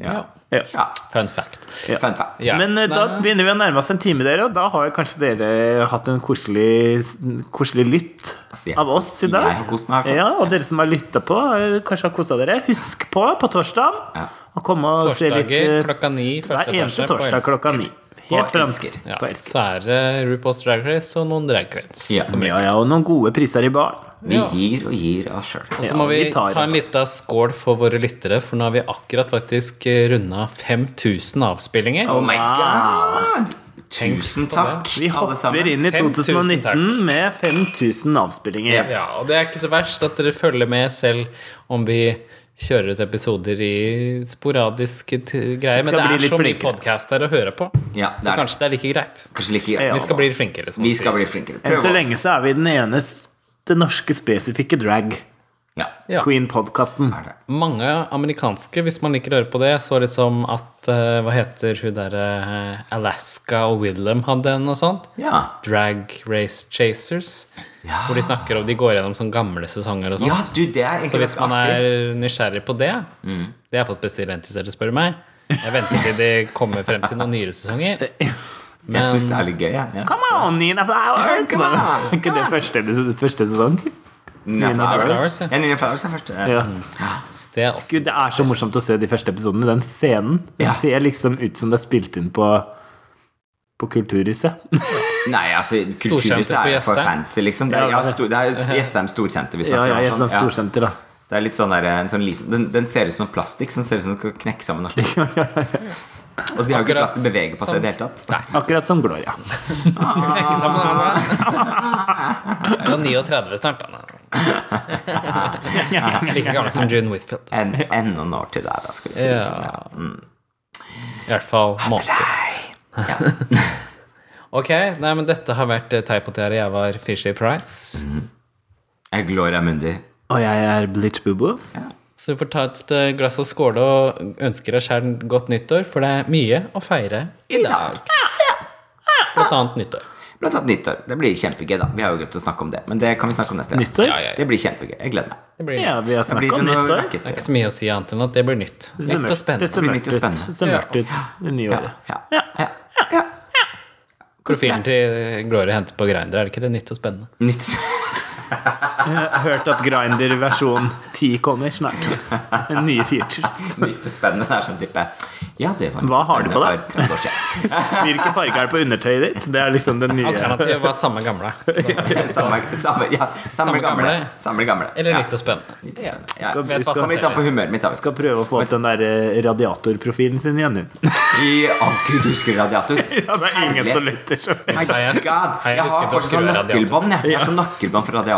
[SPEAKER 2] Ja.
[SPEAKER 3] ja.
[SPEAKER 2] ja.
[SPEAKER 1] Fun fact.
[SPEAKER 2] Fun fact.
[SPEAKER 1] Yes.
[SPEAKER 3] Men eh, da
[SPEAKER 1] Nei.
[SPEAKER 3] begynner vi å nærme oss en time, dere. Og da har kanskje dere hatt en koselig, koselig lytt
[SPEAKER 2] Altså, jeg-
[SPEAKER 3] av oss i dag.
[SPEAKER 2] jeg har kost meg i hvert fall.
[SPEAKER 3] Ja, Og dere som har lytta på, eh, kanskje har kosa dere. Husk på på torsdagen
[SPEAKER 2] Ja.
[SPEAKER 3] å komme og se
[SPEAKER 1] Torsdager
[SPEAKER 3] litt eh,
[SPEAKER 1] klokka ni.
[SPEAKER 3] Hver
[SPEAKER 1] Første
[SPEAKER 3] eneste
[SPEAKER 1] etasje på
[SPEAKER 3] torsdag
[SPEAKER 1] Elsker.
[SPEAKER 3] klokka ni.
[SPEAKER 2] På
[SPEAKER 3] Helt fransk.
[SPEAKER 2] Elsker.
[SPEAKER 1] Ja,
[SPEAKER 3] På Elsker.
[SPEAKER 1] så er det RuPaul's Drag Race og noen drag queens.
[SPEAKER 2] Ja.
[SPEAKER 3] Ja, ja, og noen gode priser i baren.
[SPEAKER 2] Vi gir og gir av sjøl.
[SPEAKER 1] Så
[SPEAKER 3] Ja,
[SPEAKER 1] må vi
[SPEAKER 3] vi tar
[SPEAKER 1] ta en
[SPEAKER 3] en.
[SPEAKER 1] liten skål for våre lyttere, for nå har vi akkurat faktisk runda 5000 avspillinger.
[SPEAKER 2] Oh my god! Tusen
[SPEAKER 1] på
[SPEAKER 2] takk,
[SPEAKER 3] Vi
[SPEAKER 2] alle
[SPEAKER 3] hopper
[SPEAKER 2] sammen.
[SPEAKER 3] inn i
[SPEAKER 1] 5000 takk.
[SPEAKER 3] 2019 med 5000 avspillinger.
[SPEAKER 2] Ja.
[SPEAKER 1] Ja, og det er ikke så verst at dere følger med selv om vi kjører ut episoder i sporadiske t- greier. Men det
[SPEAKER 3] bli
[SPEAKER 1] er
[SPEAKER 3] litt
[SPEAKER 1] så mye
[SPEAKER 3] flinkere.
[SPEAKER 1] podkast der å høre på,
[SPEAKER 2] Ja, det
[SPEAKER 1] så
[SPEAKER 2] er det.
[SPEAKER 1] kanskje det er like greit.
[SPEAKER 2] Kanskje like greit.
[SPEAKER 3] Ja.
[SPEAKER 1] Vi skal bli litt flinkere. som
[SPEAKER 2] Vi
[SPEAKER 1] du
[SPEAKER 2] skal
[SPEAKER 1] sier.
[SPEAKER 2] bli flinkere.
[SPEAKER 3] Enn så
[SPEAKER 2] Prøv å
[SPEAKER 3] lenge så er vi den ene s- det norske spesifikke drag.
[SPEAKER 2] ja.
[SPEAKER 1] Ja.
[SPEAKER 3] Queen-podkasten.
[SPEAKER 1] Mange amerikanske, hvis man liker å høre på det, så liksom at eh, Hva heter hun derre Alaska og Willem hadde en og sånt?
[SPEAKER 2] Ja.
[SPEAKER 1] Drag Race Chasers. Hvor de snakker om de går gjennom sånne gamle sesonger og sånt.
[SPEAKER 2] ja, du, det
[SPEAKER 1] Så
[SPEAKER 2] er egentlig
[SPEAKER 1] hvis
[SPEAKER 2] ganske
[SPEAKER 1] man
[SPEAKER 2] artig. Mm.
[SPEAKER 1] er nysgjerrig på det Det er jeg faktisk spesielt spør du meg. Jeg venter til de kommer frem til noen nyere sesonger.
[SPEAKER 3] Eh,
[SPEAKER 2] Jeg syns det er litt gøy. Ja. Ja.
[SPEAKER 3] Come on, Nina Flower!
[SPEAKER 2] Come on, come
[SPEAKER 3] Ikke det første, første sesong?
[SPEAKER 2] Nina Flowers.
[SPEAKER 1] Flowers, ja.
[SPEAKER 2] Ja, Nina Flowers er første.
[SPEAKER 3] Ja.
[SPEAKER 1] Så det er også
[SPEAKER 3] Gud, det er så morsomt å se de første episodene. Den scenen
[SPEAKER 2] Ja.
[SPEAKER 3] Den ser liksom ut som det er spilt inn på på Kulturhuset.
[SPEAKER 2] Nei, altså, Kulturhuset
[SPEAKER 1] på
[SPEAKER 2] er jo for
[SPEAKER 1] Jessheim.
[SPEAKER 2] fancy, liksom. Det er, ja,
[SPEAKER 3] Ja, det er det.
[SPEAKER 2] sto- det er Jessheim Storsenter vi
[SPEAKER 3] Ja,
[SPEAKER 2] snakker
[SPEAKER 3] ja, jeg
[SPEAKER 2] om.
[SPEAKER 3] som
[SPEAKER 2] og Sånn. Ja.
[SPEAKER 3] storsenter, da.
[SPEAKER 2] Det er litt sånn der, en sånn liten, den, den ser ut som plastikk som ser ut som den skal knekke sammen norsk plastikk. Og de har jo ikke plass til å bevege på seg i det hele tatt.
[SPEAKER 3] Akkurat som Gloria.
[SPEAKER 1] Knekke sammen armene. Det er jo 39 snart, da. Like gammel som June Whitfield.
[SPEAKER 2] En, enda noen år til der, da, skal vi si. det sånn,
[SPEAKER 1] Ja. I hvert fall måter. Ok, nei, men dette har vært eh, Teip og Tiara. Jeg var Fishy Price.
[SPEAKER 2] Jeg er Gloria Mundi.
[SPEAKER 3] Og jeg er Blitch Bubo.
[SPEAKER 1] Så du får ta et eh, glass og skåle og ønsker deg sjæl godt nyttår, for det er mye å feire
[SPEAKER 2] I dag.
[SPEAKER 1] blant annet nyttår.
[SPEAKER 2] Blant annet nyttår. Det blir kjempegøy, da. Vi har jo glemt å snakke om det, men det kan vi snakke om neste gang.
[SPEAKER 3] Nyttår?
[SPEAKER 1] Ja, ja, ja.
[SPEAKER 2] Det blir kjempegøy. Jeg gleder meg.
[SPEAKER 1] Det blir
[SPEAKER 3] Ja, vi har
[SPEAKER 2] Da blir
[SPEAKER 3] snakka
[SPEAKER 2] det
[SPEAKER 3] om
[SPEAKER 2] noe
[SPEAKER 3] nyttår.
[SPEAKER 2] racket.
[SPEAKER 1] Det er ikke så mye å si annet enn at det blir nytt.
[SPEAKER 3] Det ser
[SPEAKER 1] Nytt og
[SPEAKER 3] mørkt- det
[SPEAKER 1] spennende.
[SPEAKER 3] ser
[SPEAKER 2] Det blir nytt og
[SPEAKER 3] mørkt ut.
[SPEAKER 2] spennende.
[SPEAKER 3] Det ser mørkt ut i
[SPEAKER 2] Ja,
[SPEAKER 3] nyåret.
[SPEAKER 2] ja, ja, ja, ja.
[SPEAKER 1] eh, Profilen til Gloria henter på Grindr, er det ikke det? Nytt og spennende.
[SPEAKER 2] Nytt
[SPEAKER 3] hørt at Grinder versjon 10 kommer snart. Nye features.
[SPEAKER 2] Nytt og spennende. Det er sånn type Ja, det var
[SPEAKER 3] Hva har du på
[SPEAKER 2] deg? For 30 år siden.
[SPEAKER 3] Hvilken farge er det på undertøyet ditt? Det er liksom den nye.
[SPEAKER 1] Alternativet var samme gamle. Så-
[SPEAKER 2] samme, samme, ja, samme,
[SPEAKER 1] Samme
[SPEAKER 2] gamle.
[SPEAKER 1] gamle.
[SPEAKER 2] Samme gamle.
[SPEAKER 1] Eller
[SPEAKER 2] ja.
[SPEAKER 1] litt og spennende.
[SPEAKER 2] Litt spennende. Ja.
[SPEAKER 3] Skal-
[SPEAKER 1] Vet hva
[SPEAKER 2] Kan
[SPEAKER 1] som
[SPEAKER 2] vi ta på
[SPEAKER 1] ser ut.
[SPEAKER 2] humør? Vi tar på
[SPEAKER 3] Skal prøve å få ut den der eh, radiatorprofilen sin igjen, du.
[SPEAKER 2] I- Å, gud, du husker radiator?
[SPEAKER 3] Ja, det er ingen som lytter som
[SPEAKER 2] My
[SPEAKER 1] Hei, jeg-
[SPEAKER 2] God.
[SPEAKER 1] hei, jeg
[SPEAKER 2] Jeg har
[SPEAKER 1] husker
[SPEAKER 2] fortsatt
[SPEAKER 1] å
[SPEAKER 2] sånn
[SPEAKER 1] skrive
[SPEAKER 2] nøkkelbånd. Jeg. jeg har sånn nøkkelbånd for radiator.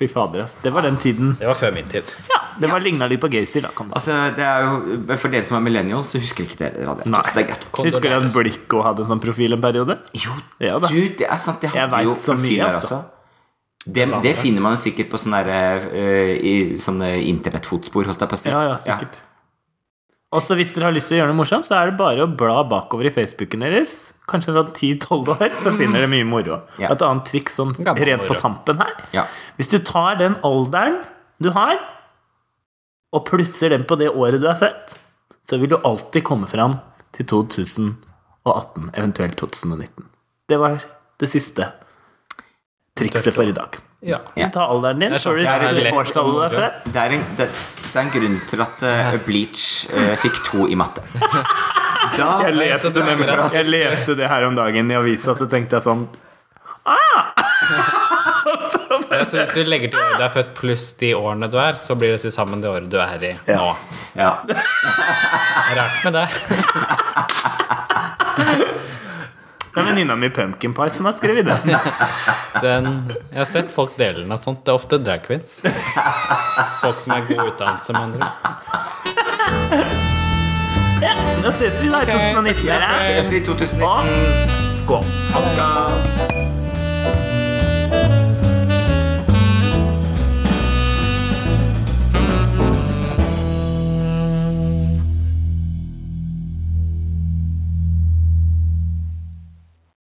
[SPEAKER 3] Fy fader, ass. Det var den tiden.
[SPEAKER 1] Det var før min tid.
[SPEAKER 3] Ja, det var ligna litt på Gaysir, da, kan du si.
[SPEAKER 2] Altså, det er jo, For dere som er millennial, så husker ikke dere radiator.
[SPEAKER 3] Nei.
[SPEAKER 2] Så det er greit.
[SPEAKER 3] Husker du at Blikko hadde en sånn profil en periode?
[SPEAKER 2] Jo,
[SPEAKER 3] Ja da.
[SPEAKER 2] du, det er sant. Det
[SPEAKER 3] Jeg
[SPEAKER 2] hadde
[SPEAKER 3] vet
[SPEAKER 2] jo
[SPEAKER 3] så mye,
[SPEAKER 2] profiler
[SPEAKER 3] altså.
[SPEAKER 2] også. Det, det finner man jo sikkert på sånne, der, eh, i sånne internettfotspor, holdt jeg på å si.
[SPEAKER 3] Ja, ja, sikkert. Også hvis dere har lyst til å gjøre noe morsomt, så er det bare å bla bakover i Facebooken deres. Kanskje fra 10-12 år, så finner dere mye moro.
[SPEAKER 2] Ja.
[SPEAKER 3] Et annet triks sånn
[SPEAKER 1] Gammel
[SPEAKER 3] rent på
[SPEAKER 1] moro.
[SPEAKER 3] tampen her.
[SPEAKER 2] Ja.
[SPEAKER 3] Hvis du tar den alderen du har, og plusser den på det året du er født, så vil du alltid komme fram til 2018, eventuelt 2019. Det var det siste trikset for i dag.
[SPEAKER 1] Ja.
[SPEAKER 2] Ja.
[SPEAKER 3] Ta alderen din,
[SPEAKER 1] Det er
[SPEAKER 3] så vil
[SPEAKER 1] sånn, det er
[SPEAKER 3] du se
[SPEAKER 1] lett
[SPEAKER 3] årstallet du
[SPEAKER 1] å
[SPEAKER 3] er
[SPEAKER 1] moro.
[SPEAKER 3] født.
[SPEAKER 2] Det er, en, det, det er en grunn til at eh, Bleach eh, fikk to i matte. Da
[SPEAKER 3] Jeg
[SPEAKER 1] leste
[SPEAKER 2] Takk
[SPEAKER 1] nemlig
[SPEAKER 2] for
[SPEAKER 1] at-
[SPEAKER 2] oss.
[SPEAKER 3] Jeg leste det her om dagen i avisa, så tenkte jeg sånn
[SPEAKER 1] Ja, Så hvis du legger til året du er født pluss de årene du er, så blir det til sammen det året du er i
[SPEAKER 3] Ja.
[SPEAKER 1] nå.
[SPEAKER 2] Ja.
[SPEAKER 1] Rart med det.
[SPEAKER 3] Det er venninna mi Pumpkin Pie som har skrevet det.
[SPEAKER 1] Den, jeg har sett folk dele den og sånt. Det er ofte drag queens. Folk med god utdannelse, med andre ord.
[SPEAKER 3] Da ses vi da i 2019. dere.
[SPEAKER 2] Ses vi i 2019.
[SPEAKER 3] Og skål.
[SPEAKER 2] Skal